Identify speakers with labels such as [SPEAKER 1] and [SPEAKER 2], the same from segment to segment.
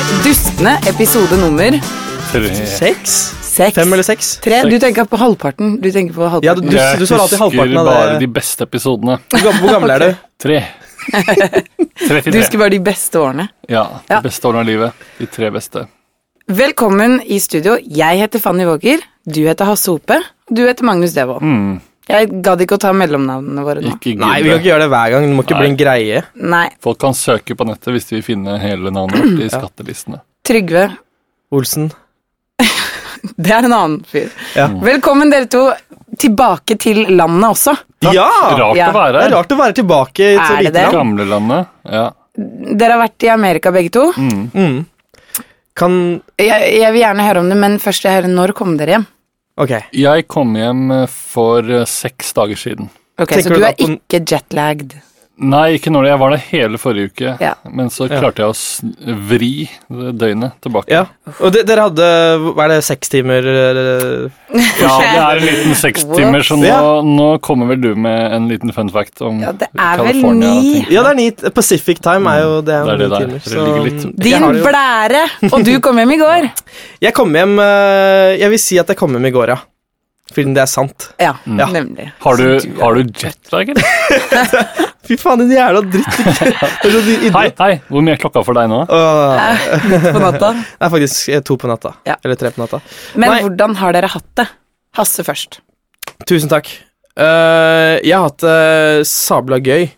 [SPEAKER 1] Heltene, episode nummer
[SPEAKER 2] Seks?
[SPEAKER 1] seks.
[SPEAKER 2] Fem eller seks?
[SPEAKER 1] Tre. Du tenker på halvparten. Du tenker på
[SPEAKER 2] Ja, du,
[SPEAKER 1] halvparten.
[SPEAKER 2] du, du svarer alltid halvparten av
[SPEAKER 3] Jeg husker bare
[SPEAKER 2] det.
[SPEAKER 3] de beste episodene.
[SPEAKER 2] Hvor gammel, hvor gammel er du?
[SPEAKER 3] Tre.
[SPEAKER 1] du,
[SPEAKER 3] 33.
[SPEAKER 1] husker bare de beste årene.
[SPEAKER 3] Ja, de
[SPEAKER 1] Ja.
[SPEAKER 3] beste årene av livet. De tre beste.
[SPEAKER 1] Velkommen i studio. Jeg heter Fanny Våger. Du heter Hasse Hope. Du heter Magnus Devold.
[SPEAKER 3] Mm,
[SPEAKER 1] Jeg gadd ikke å ta mellomnavnene våre nå.
[SPEAKER 3] ikke
[SPEAKER 2] Nei, vi kan
[SPEAKER 3] gidde.
[SPEAKER 2] ikke gjøre det hver gang. Det må ikke bli en greie.
[SPEAKER 1] Nei.
[SPEAKER 3] Folk kan søke på nettet hvis de vil finne hele navnet vårt i skattelistene.
[SPEAKER 1] Trygve.
[SPEAKER 2] Olsen.
[SPEAKER 1] Det er en annen fyr.
[SPEAKER 2] Ja.
[SPEAKER 1] Velkommen dere to tilbake til landet også.
[SPEAKER 2] Ja!
[SPEAKER 3] Rart
[SPEAKER 1] Ja.
[SPEAKER 3] å være
[SPEAKER 2] Det er
[SPEAKER 3] her.
[SPEAKER 2] rart å være tilbake i så
[SPEAKER 1] Er det
[SPEAKER 2] lite
[SPEAKER 1] det?
[SPEAKER 2] land.
[SPEAKER 3] Gamlelandet. Ja.
[SPEAKER 1] Dere har vært i Amerika begge to.
[SPEAKER 3] Mm.
[SPEAKER 2] Mm. Kan
[SPEAKER 1] Jeg, jeg vil gjerne høre om det, men først vil jeg høre når kom dere hjem.
[SPEAKER 2] Ok.
[SPEAKER 3] Jeg kom hjem eh, for eh, seks dager siden.
[SPEAKER 1] Ok,
[SPEAKER 2] Tenker
[SPEAKER 1] Så
[SPEAKER 2] du
[SPEAKER 1] du
[SPEAKER 2] da
[SPEAKER 1] er
[SPEAKER 2] på den-
[SPEAKER 1] ikke jetlagged.
[SPEAKER 3] Nei, ikke når det. Jeg var der hele forrige uke.
[SPEAKER 1] Ja.
[SPEAKER 3] Men så
[SPEAKER 2] Ja.
[SPEAKER 3] klarte jeg å sn- vri døgnet tilbake.
[SPEAKER 2] Ja. Og de, dere hadde Hva er det, seks timer eller-
[SPEAKER 3] Ja, det er en liten sekstimer, så nå,
[SPEAKER 2] Ja.
[SPEAKER 3] nå kommer vel du med en liten fun fact om
[SPEAKER 1] Ja, det er vel
[SPEAKER 3] California.
[SPEAKER 1] ni.
[SPEAKER 3] tenker jeg.
[SPEAKER 2] Ja, det er ni Pacific time er jo det. er
[SPEAKER 3] Mm. Det er det
[SPEAKER 2] ni
[SPEAKER 3] der.
[SPEAKER 2] timer,
[SPEAKER 3] Det ligger litt-
[SPEAKER 2] jeg
[SPEAKER 1] Din
[SPEAKER 2] har det jo-
[SPEAKER 1] blære! Og du kom hjem i går.
[SPEAKER 2] Jeg kom hjem eh, Jeg vil si at jeg kom hjem i går, ja. Fordi det er sant.
[SPEAKER 1] Ja,
[SPEAKER 3] Ja.
[SPEAKER 1] Mm. nemlig. Så
[SPEAKER 3] Har du, har du jetlag, eller?
[SPEAKER 2] Fy faen, din jævla dritt. Det er så din idiot.
[SPEAKER 3] Hei, hei, hvor mye er klokka for deg nå?
[SPEAKER 2] Åh,
[SPEAKER 1] Midt på natta.
[SPEAKER 2] det er faktisk eh, to på natta.
[SPEAKER 1] Ja.
[SPEAKER 2] Eller tre på natta.
[SPEAKER 1] Men
[SPEAKER 2] Nei.
[SPEAKER 1] hvordan har dere hatt det? Hasse først.
[SPEAKER 2] Tusen takk. Eh, jeg har hatt det sabla gøy.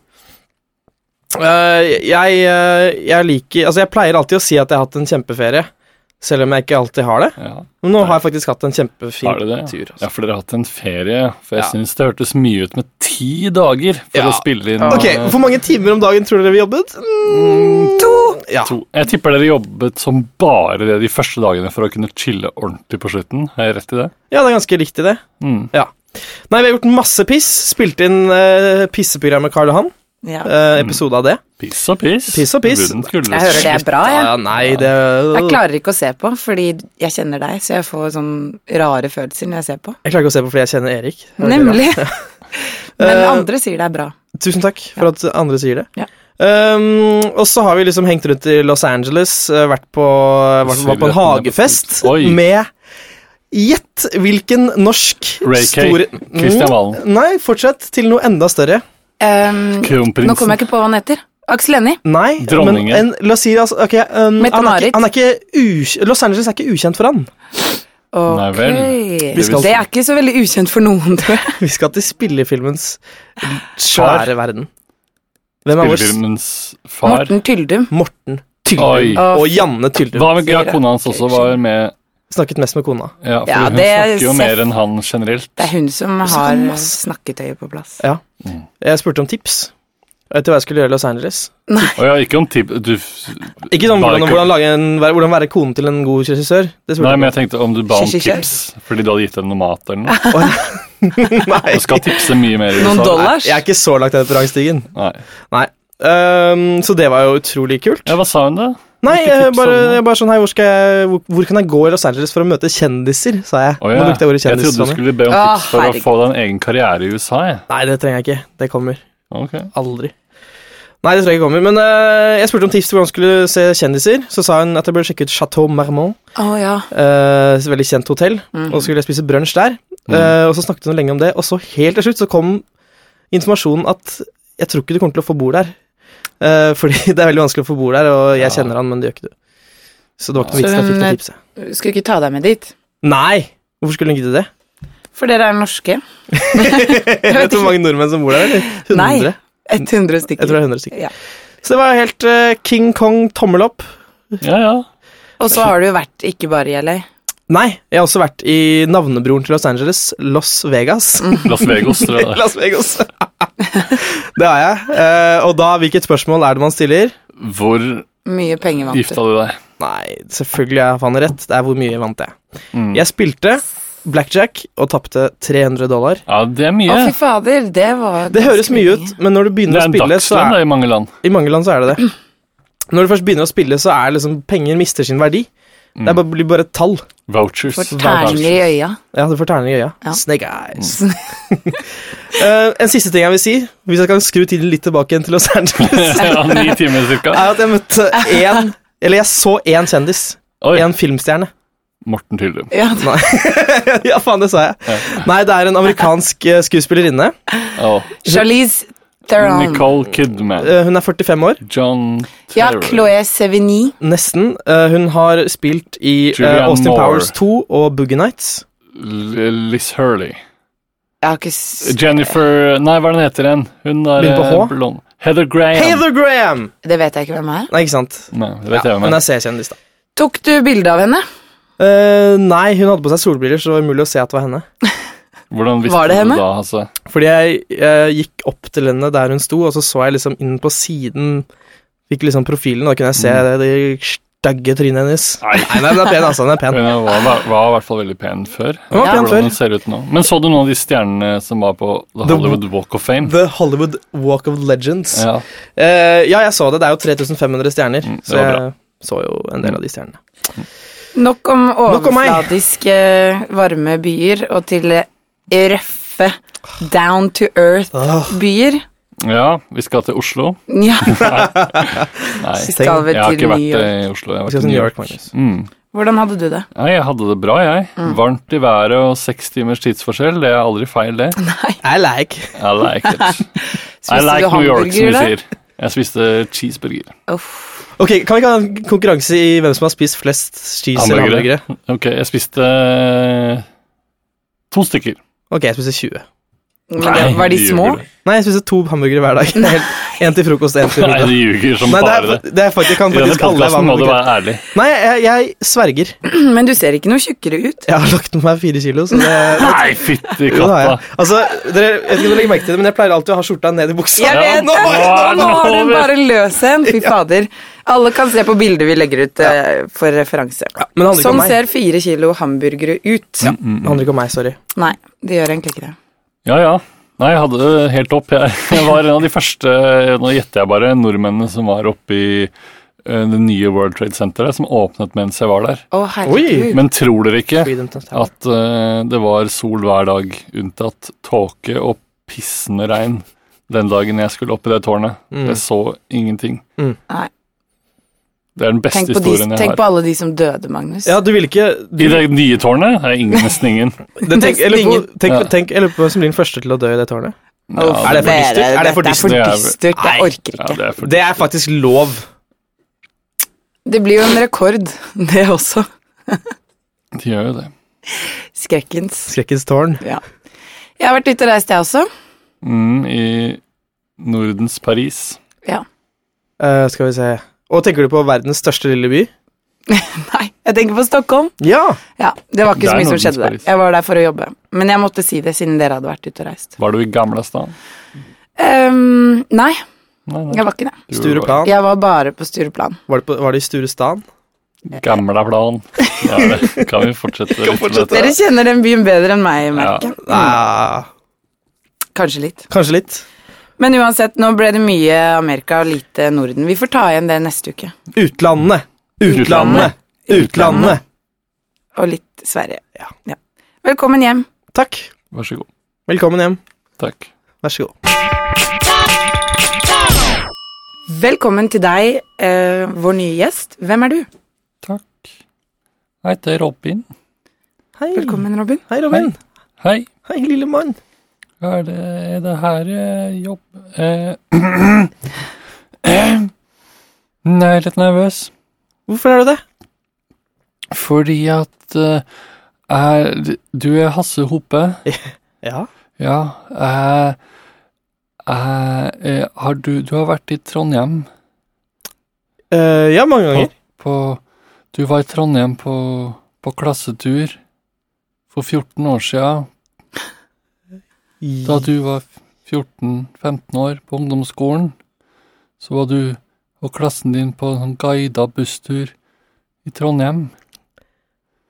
[SPEAKER 2] Eh, jeg, eh, jeg liker Altså, jeg pleier alltid å si at jeg har hatt en kjempeferie. Selv om jeg ikke alltid har det.
[SPEAKER 3] Ja,
[SPEAKER 2] Men nå har jeg faktisk hatt en kjempefin
[SPEAKER 3] er det det?
[SPEAKER 2] tur. Altså.
[SPEAKER 3] Ja, for dere har hatt en ferie, for jeg
[SPEAKER 2] Ja.
[SPEAKER 3] synes det hørtes mye ut med ti dager for
[SPEAKER 2] Ja.
[SPEAKER 3] å spille inn.
[SPEAKER 2] Ok,
[SPEAKER 3] eh,
[SPEAKER 2] Hvor mange timer om dagen tror dere vi jobbet? Mm, to. Ja.
[SPEAKER 3] to. Jeg tipper dere jobbet som bare det de første dagene for å kunne chille ordentlig på slutten. Har jeg rett i det?
[SPEAKER 2] ja, det er ganske likt i det.
[SPEAKER 3] Mm.
[SPEAKER 2] Nei, vi har gjort masse piss. Spilte inn eh, pisseprogram med Karl Johan.
[SPEAKER 1] Ja.
[SPEAKER 2] Eh,
[SPEAKER 3] Mm.
[SPEAKER 2] episode av det.
[SPEAKER 3] Piss og piss.
[SPEAKER 2] Piss og piss.
[SPEAKER 3] Runden skulle
[SPEAKER 1] Jeg hører det er bra, jeg.
[SPEAKER 2] ja, nei, det
[SPEAKER 1] Ah, Jeg klarer ikke å se på, fordi jeg kjenner deg, så jeg får sånn rare følelser når jeg ser på.
[SPEAKER 2] Jeg klarer ikke å se på fordi jeg kjenner Erik. Det er veldig rart.
[SPEAKER 1] Nemlig. Men
[SPEAKER 2] Eh,
[SPEAKER 1] andre sier det er bra.
[SPEAKER 2] Tusen takk for at andre sier det.
[SPEAKER 1] Ja.
[SPEAKER 2] Um, og så har vi liksom hengt rundt i Los Angeles, eh, vært på, vært, var på en hagefest
[SPEAKER 3] Oi.
[SPEAKER 2] med Gjett hvilken norsk
[SPEAKER 3] Ray K. Kristian Valen.
[SPEAKER 2] Mm, Nei, fortsett til noe enda større.
[SPEAKER 1] Um, nå kommer
[SPEAKER 3] Kronprinsen.
[SPEAKER 1] jeg ikke på hva han heter. Aksel Hennie.
[SPEAKER 2] Nei,
[SPEAKER 3] Dronningen.
[SPEAKER 2] men en, la oss si altså, ok, um, han, er
[SPEAKER 1] Mette-Marit.
[SPEAKER 2] ikke, han er ikke u- Los Angeles er ikke ukjent for han.
[SPEAKER 3] Nei
[SPEAKER 1] Ok.
[SPEAKER 3] vel.
[SPEAKER 2] Vi skal-
[SPEAKER 1] Det er ikke så veldig ukjent for noen, tror jeg.
[SPEAKER 2] Vi skal til spillefilmens svære verden. Hvem er vår s-
[SPEAKER 3] Spillefilmens far.
[SPEAKER 1] Morten Tyldum.
[SPEAKER 2] Morten
[SPEAKER 3] Oi.
[SPEAKER 2] Tyldum og Janne Tyldum?
[SPEAKER 3] Hva med ja, kona hans også var med?
[SPEAKER 2] Snakket mest med kona.
[SPEAKER 3] Ja, for
[SPEAKER 1] Ja,
[SPEAKER 3] hun
[SPEAKER 1] det
[SPEAKER 3] snakker jo
[SPEAKER 1] ser-
[SPEAKER 3] mer enn han generelt.
[SPEAKER 1] Det er hun som
[SPEAKER 2] så
[SPEAKER 1] har
[SPEAKER 2] masse-
[SPEAKER 1] snakketøyet på plass.
[SPEAKER 3] Mm.
[SPEAKER 2] Jeg spurte om tips. Vet du hva jeg skulle gjøre i Los Angeles?
[SPEAKER 3] Og ja, ikke om tip... Du,
[SPEAKER 2] Ikke sånn
[SPEAKER 3] Bare
[SPEAKER 2] hvordan,
[SPEAKER 3] ikke-
[SPEAKER 2] hvordan, lage en, hvordan være kone til en god regissør. Det spurte
[SPEAKER 3] nei,
[SPEAKER 2] jeg
[SPEAKER 3] men jeg tenkte om du ba om
[SPEAKER 1] Kjør, kjør, kjør.
[SPEAKER 3] tips, fordi du hadde gitt henne noe mat eller noe.
[SPEAKER 2] ikke. Nei,
[SPEAKER 3] Du skal tipse mye mer. i
[SPEAKER 1] Noen
[SPEAKER 3] USA.
[SPEAKER 1] dollars?
[SPEAKER 2] jeg er ikke så langt ned på rangstigen.
[SPEAKER 3] Nei.
[SPEAKER 2] Ehm, så det var jo utrolig kult.
[SPEAKER 3] Ja, hva sa hun, da?
[SPEAKER 2] Nei,
[SPEAKER 3] Hvilke
[SPEAKER 2] jeg
[SPEAKER 3] tips
[SPEAKER 2] bare,
[SPEAKER 3] hadde du?
[SPEAKER 2] jeg bare sånn, hei, hvor, skal jeg, hvor, hvor kan jeg gå i Los Angeles for å møte kjendiser, sa jeg.
[SPEAKER 3] Å,
[SPEAKER 2] Nå
[SPEAKER 3] ja.
[SPEAKER 2] brukte jeg ordet
[SPEAKER 3] Jeg
[SPEAKER 2] kjendis.
[SPEAKER 3] trodde du
[SPEAKER 2] Fanny.
[SPEAKER 3] skulle be om
[SPEAKER 1] Å,
[SPEAKER 3] tips for
[SPEAKER 1] herregud.
[SPEAKER 3] å få deg en egen karriere i USA. Jeg.
[SPEAKER 2] Nei, det trenger jeg ikke. Det kommer.
[SPEAKER 3] Ok.
[SPEAKER 2] Aldri. Nei, det tror jeg ikke kommer. Men eh, jeg spurte om tips til hvordan jeg skulle se kjendiser. Så sa hun at jeg burde sjekke ut Chateau Marmont.
[SPEAKER 1] Å ja.
[SPEAKER 2] Eh, et veldig kjent hotell,
[SPEAKER 1] Mm.
[SPEAKER 2] og så skulle jeg spise brunsj der. Eh, og så snakket hun lenge om det, og så helt til slutt så kom informasjonen at jeg tror ikke du kommer til å få bord der. Eh, fordi det er veldig vanskelig å få bord der, og jeg
[SPEAKER 3] Ja.
[SPEAKER 2] kjenner han, men det gjør ikke du. Så det var ikke
[SPEAKER 1] Ja. Så
[SPEAKER 2] noe vits i at jeg fikk
[SPEAKER 1] hun,
[SPEAKER 2] det tipset.
[SPEAKER 1] Skulle ikke ta deg med dit.
[SPEAKER 2] Nei! Hvorfor skulle hun gidde det?
[SPEAKER 1] For dere er norske.
[SPEAKER 2] Jeg vet du hvor mange nordmenn som bor der? eller? 100?
[SPEAKER 1] Nei. 100
[SPEAKER 2] Jeg
[SPEAKER 1] stykker.
[SPEAKER 2] tror det er 100 stykker.
[SPEAKER 1] Ja.
[SPEAKER 2] Så det var helt eh, King Kong tommel opp.
[SPEAKER 3] Ja, ja.
[SPEAKER 1] Og så har du jo vært ikke bare i LA.
[SPEAKER 2] Nei, jeg har også vært i navnebroren til Los Angeles, Los Vegas.
[SPEAKER 3] Las Vegas, tror jeg. det er.
[SPEAKER 2] Las Vegas. det har jeg. Eh, og da, hvilket spørsmål er det man stiller?
[SPEAKER 3] Hvor
[SPEAKER 1] Mye penger vant du.
[SPEAKER 3] gifta du deg?
[SPEAKER 2] Nei, selvfølgelig har han rett. Det er hvor mye vant jeg.
[SPEAKER 3] Mm.
[SPEAKER 2] Jeg spilte blackjack og tapte 300 dollar.
[SPEAKER 3] Ja, det er
[SPEAKER 1] Å,
[SPEAKER 3] mye.
[SPEAKER 1] fy fader, det var
[SPEAKER 2] Det høres
[SPEAKER 1] ganske
[SPEAKER 2] mye ut, men når du
[SPEAKER 3] Det
[SPEAKER 2] begynner
[SPEAKER 3] er
[SPEAKER 2] å
[SPEAKER 3] en
[SPEAKER 2] spille, så
[SPEAKER 3] dagslønn
[SPEAKER 2] er,
[SPEAKER 3] da, i mange land.
[SPEAKER 2] i mange land så er det det. Når du først begynner å spille, så er liksom penger mister sin verdi.
[SPEAKER 3] Mm.
[SPEAKER 2] Det er bare, blir bare et tall.
[SPEAKER 3] Vouchers.
[SPEAKER 1] For terninger i øya.
[SPEAKER 2] Ja, du får terning i øya.
[SPEAKER 1] Ja.
[SPEAKER 2] Snake
[SPEAKER 3] Mm.
[SPEAKER 2] eyes. Eh, en siste ting jeg vil si, hvis jeg kan skru tiden litt tilbake igjen til Los Angeles,
[SPEAKER 3] ja, ni timer cirka.
[SPEAKER 2] er at jeg møtte én Eller jeg så én kjendis.
[SPEAKER 3] Oi,
[SPEAKER 2] En filmstjerne.
[SPEAKER 3] Morten Tyldum.
[SPEAKER 1] Ja, det-
[SPEAKER 2] ja, faen, det sa jeg. Nei, det er en amerikansk eh, skuespillerinne.
[SPEAKER 3] Og
[SPEAKER 1] Charlize Theron.
[SPEAKER 3] Nicole Kidman.
[SPEAKER 2] Eh, Hun er 45 år,
[SPEAKER 3] John
[SPEAKER 1] Ja,
[SPEAKER 3] Terror.
[SPEAKER 1] Chloé Sevigny.
[SPEAKER 2] nesten. Eh, Hun har spilt i eh,
[SPEAKER 3] Julianne
[SPEAKER 2] Austin
[SPEAKER 3] Moore.
[SPEAKER 2] Powers 2 og Boogie Nights.
[SPEAKER 3] L- Liz Hurley.
[SPEAKER 1] Jeg har ikke s
[SPEAKER 3] Jennifer Nei, hva er den heter igjen? Hun er
[SPEAKER 2] Begynner på
[SPEAKER 3] eh,
[SPEAKER 2] H?
[SPEAKER 3] blond. Heather Graham.
[SPEAKER 2] Heather Graham!
[SPEAKER 1] Det vet jeg ikke hvem er.
[SPEAKER 2] Nei, ikke sant.
[SPEAKER 3] Nei, det vet jeg hvem
[SPEAKER 2] Hun
[SPEAKER 3] er.
[SPEAKER 2] er C-kjendis, da.
[SPEAKER 1] Tok du bilde av henne?
[SPEAKER 2] Eh, nei, hun hadde på seg solbriller, så det var umulig å se at det var henne.
[SPEAKER 3] Hvordan visste
[SPEAKER 1] Var det
[SPEAKER 3] du
[SPEAKER 1] henne?
[SPEAKER 3] da, altså? Hasse?
[SPEAKER 2] Fordi jeg eh, gikk opp til henne der hun sto, og så så jeg liksom inn på siden Fikk liksom profilen, og da kunne jeg se det, det stygge trynet hennes.
[SPEAKER 3] Mm. Nei.
[SPEAKER 2] nei, men den er pen, altså. Den er pen.
[SPEAKER 3] Hun er- var, var i hvert fall veldig pen før.
[SPEAKER 2] Hun var
[SPEAKER 1] Ja.
[SPEAKER 2] pen
[SPEAKER 3] Hvordan
[SPEAKER 2] før.
[SPEAKER 3] hun ser ut nå. Men så du noen av de stjernene som var på The
[SPEAKER 2] The-
[SPEAKER 3] Hollywood Walk of Fame?
[SPEAKER 2] The Hollywood Walk of Legends. Ja.
[SPEAKER 3] Ja.
[SPEAKER 2] Eh, ja, jeg så det. Det er jo 3500 stjerner,
[SPEAKER 3] Mm, det
[SPEAKER 2] så
[SPEAKER 3] var
[SPEAKER 2] jeg
[SPEAKER 3] bra.
[SPEAKER 2] så jo en del av de stjernene.
[SPEAKER 1] Nok om
[SPEAKER 2] Nok om meg.
[SPEAKER 1] overfladiske, varme byer og til eh, røffe, down to
[SPEAKER 2] Åh.
[SPEAKER 1] earth-byer.
[SPEAKER 3] ja, vi skal til Oslo.
[SPEAKER 1] Ja,
[SPEAKER 3] Nei,
[SPEAKER 1] skal vi
[SPEAKER 3] jeg har
[SPEAKER 1] til
[SPEAKER 3] ikke
[SPEAKER 1] New
[SPEAKER 3] vært
[SPEAKER 1] York.
[SPEAKER 3] eh, i Oslo. Jeg har
[SPEAKER 2] Vi skal
[SPEAKER 3] vært
[SPEAKER 2] til
[SPEAKER 3] i
[SPEAKER 2] New York, Magnus.
[SPEAKER 3] Mm.
[SPEAKER 1] Hvordan hadde du det?
[SPEAKER 3] Nei, jeg hadde det bra, jeg.
[SPEAKER 1] Mm.
[SPEAKER 3] Varmt i været og seks timers tidsforskjell. Det er aldri feil, det.
[SPEAKER 2] I like.
[SPEAKER 3] I like it. I
[SPEAKER 1] Spiste
[SPEAKER 3] like
[SPEAKER 1] du
[SPEAKER 3] New York, som
[SPEAKER 1] hamburger
[SPEAKER 3] vi
[SPEAKER 1] der?
[SPEAKER 3] sier. Jeg spiste cheeseburger.
[SPEAKER 1] Uff.
[SPEAKER 2] Ok, Kan vi ikke ha en konkurranse i hvem som har spist flest cheese eller
[SPEAKER 3] Hamburgere.
[SPEAKER 2] hamburgere?
[SPEAKER 3] Ok, jeg spiste eh, to stykker.
[SPEAKER 2] Ok, jeg spiser 20.
[SPEAKER 1] Men det,
[SPEAKER 3] Nei,
[SPEAKER 1] var de
[SPEAKER 3] du
[SPEAKER 1] små?
[SPEAKER 3] ljuger.
[SPEAKER 2] Nei, jeg spiser to hamburgere hver dag. Det er helt- En til frokost, en til
[SPEAKER 3] Nei,
[SPEAKER 2] middag.
[SPEAKER 3] du ljuger som
[SPEAKER 2] Nei, det
[SPEAKER 3] bare
[SPEAKER 2] er,
[SPEAKER 3] det.
[SPEAKER 2] det er faktisk, kan
[SPEAKER 3] I denne
[SPEAKER 2] faktisk alle være
[SPEAKER 3] podkasten må du
[SPEAKER 2] hamburgere.
[SPEAKER 3] være ærlig.
[SPEAKER 2] Nei, jeg, jeg sverger.
[SPEAKER 1] Men du ser ikke noe tjukkere ut.
[SPEAKER 2] Jeg har lagt på meg fire kilo, så det
[SPEAKER 3] Nei, fytti
[SPEAKER 2] Jo, det har jeg.
[SPEAKER 3] katta.
[SPEAKER 2] Altså, dere, jeg vet ikke om dere legger merke til det, men jeg pleier alltid å ha skjorta ned i buksa.
[SPEAKER 1] Jeg vet
[SPEAKER 2] Nå
[SPEAKER 1] det!
[SPEAKER 2] var jeg-
[SPEAKER 1] Nå
[SPEAKER 3] nå var
[SPEAKER 1] var
[SPEAKER 3] det
[SPEAKER 1] det
[SPEAKER 3] over.
[SPEAKER 1] bare løs en! Fy fader. Alle kan se på bildet vi legger ut eh, for referanse.
[SPEAKER 2] Men det handler ikke om
[SPEAKER 1] Sånn
[SPEAKER 2] meg.
[SPEAKER 1] ser fire kilo hamburgere ut.
[SPEAKER 2] Det handler ikke om meg, sorry.
[SPEAKER 1] Nei, de gjør egentlig ikke det.
[SPEAKER 3] Ja, ja. Nei, jeg hadde det helt opp. Jeg, jeg var en av de første, nå gjetter jeg bare, nordmennene som var oppe i eh, det nye World Trade Centeret, som åpnet mens jeg var der.
[SPEAKER 1] Å, herregud.
[SPEAKER 3] Men tror dere ikke
[SPEAKER 2] Freedom to tell.
[SPEAKER 3] at eh, det var sol hver dag, unntatt tåke og pissende regn den dagen jeg skulle opp i det tårnet?
[SPEAKER 2] Mm.
[SPEAKER 3] Jeg så ingenting.
[SPEAKER 1] Nei.
[SPEAKER 3] Det er den beste
[SPEAKER 1] Tenk på, de,
[SPEAKER 3] historien jeg
[SPEAKER 1] tenk
[SPEAKER 3] har.
[SPEAKER 1] på alle de som døde, Magnus.
[SPEAKER 2] Ja, du vil ikke
[SPEAKER 3] I
[SPEAKER 2] du,
[SPEAKER 3] det nye tårnet er ingen, nesten ingen.
[SPEAKER 2] det, tenk, jeg lurer på- tenk,
[SPEAKER 3] Ja.
[SPEAKER 2] tenk, jeg lurer på hvem som blir den første til å dø i det tårnet.
[SPEAKER 3] Ja,
[SPEAKER 1] Uff,
[SPEAKER 2] Er det for
[SPEAKER 1] dere,
[SPEAKER 2] dystert? Er det for
[SPEAKER 1] dette
[SPEAKER 3] dystert?
[SPEAKER 1] er for dystert?
[SPEAKER 2] Nei.
[SPEAKER 1] Jeg orker
[SPEAKER 3] ja,
[SPEAKER 1] ikke.
[SPEAKER 3] det er for
[SPEAKER 2] Det er faktisk lov.
[SPEAKER 1] Det blir jo en rekord, det også.
[SPEAKER 3] De gjør jo det.
[SPEAKER 1] Skrekkens.
[SPEAKER 2] Skrekkens tårn.
[SPEAKER 1] Ja. Jeg har vært ute og reist, jeg også.
[SPEAKER 3] Mm, I Nordens Paris.
[SPEAKER 1] Ja.
[SPEAKER 2] Eh, skal vi se. Og tenker du på verdens største lille by?
[SPEAKER 1] Nei, jeg tenker på Stockholm.
[SPEAKER 2] Ja!
[SPEAKER 1] Ja, Det var ikke
[SPEAKER 3] Det
[SPEAKER 1] så
[SPEAKER 3] er
[SPEAKER 1] mye som
[SPEAKER 3] Nordens
[SPEAKER 1] skjedde der.
[SPEAKER 3] Paris.
[SPEAKER 1] Jeg var der for å jobbe. Men jeg måtte si det, siden dere hadde vært ute og reist.
[SPEAKER 3] Var du i Gamlestan?
[SPEAKER 1] Ehm, nei,
[SPEAKER 3] Nei, nei.
[SPEAKER 1] jeg var ikke det.
[SPEAKER 3] Du
[SPEAKER 2] Stureplan.
[SPEAKER 1] Jeg var bare på Stureplan.
[SPEAKER 2] Var det, på, var det i Sturestad?
[SPEAKER 3] var Gamla plan. Ja, det kan vi fortsette litt med
[SPEAKER 2] fortsette.
[SPEAKER 3] dette?
[SPEAKER 1] Dere kjenner den byen bedre enn meg, merker
[SPEAKER 2] Mm.
[SPEAKER 1] jeg.
[SPEAKER 2] Nei,
[SPEAKER 1] Kanskje litt.
[SPEAKER 2] Ah. kanskje litt.
[SPEAKER 1] Men uansett, nå ble det mye Amerika og lite Norden. Vi får ta igjen det neste uke.
[SPEAKER 2] Utlandet! Utlandet! Utlandet!
[SPEAKER 1] Og litt Sverige. Ja. Velkommen hjem.
[SPEAKER 2] Takk.
[SPEAKER 3] Vær så god.
[SPEAKER 2] Velkommen hjem.
[SPEAKER 3] Takk.
[SPEAKER 2] Vær så god.
[SPEAKER 1] Velkommen til deg, eh, vår nye gjest. Hvem er du?
[SPEAKER 3] Takk. Jeg heter Robin.
[SPEAKER 2] Hei.
[SPEAKER 1] Velkommen, Robin.
[SPEAKER 2] Hei, Robin.
[SPEAKER 3] Hei.
[SPEAKER 2] Hei, lille mann.
[SPEAKER 3] Hva er det, er det her eh, jobb eh, Jeg er litt nervøs.
[SPEAKER 2] Hvorfor er du det?
[SPEAKER 3] Fordi at eh, jeg, Du er Hasse Hope.
[SPEAKER 2] Ja.
[SPEAKER 3] Ja. Jeg, jeg, eh, har du, du har vært i Trondheim.
[SPEAKER 2] Eh, ja, mange
[SPEAKER 3] på,
[SPEAKER 2] ganger.
[SPEAKER 3] på Du var i Trondheim på, på klassetur for 14 år siden, da du var 14-15 år på ungdomsskolen. Så var du og klassen din på en sånn guida busstur i Trondheim.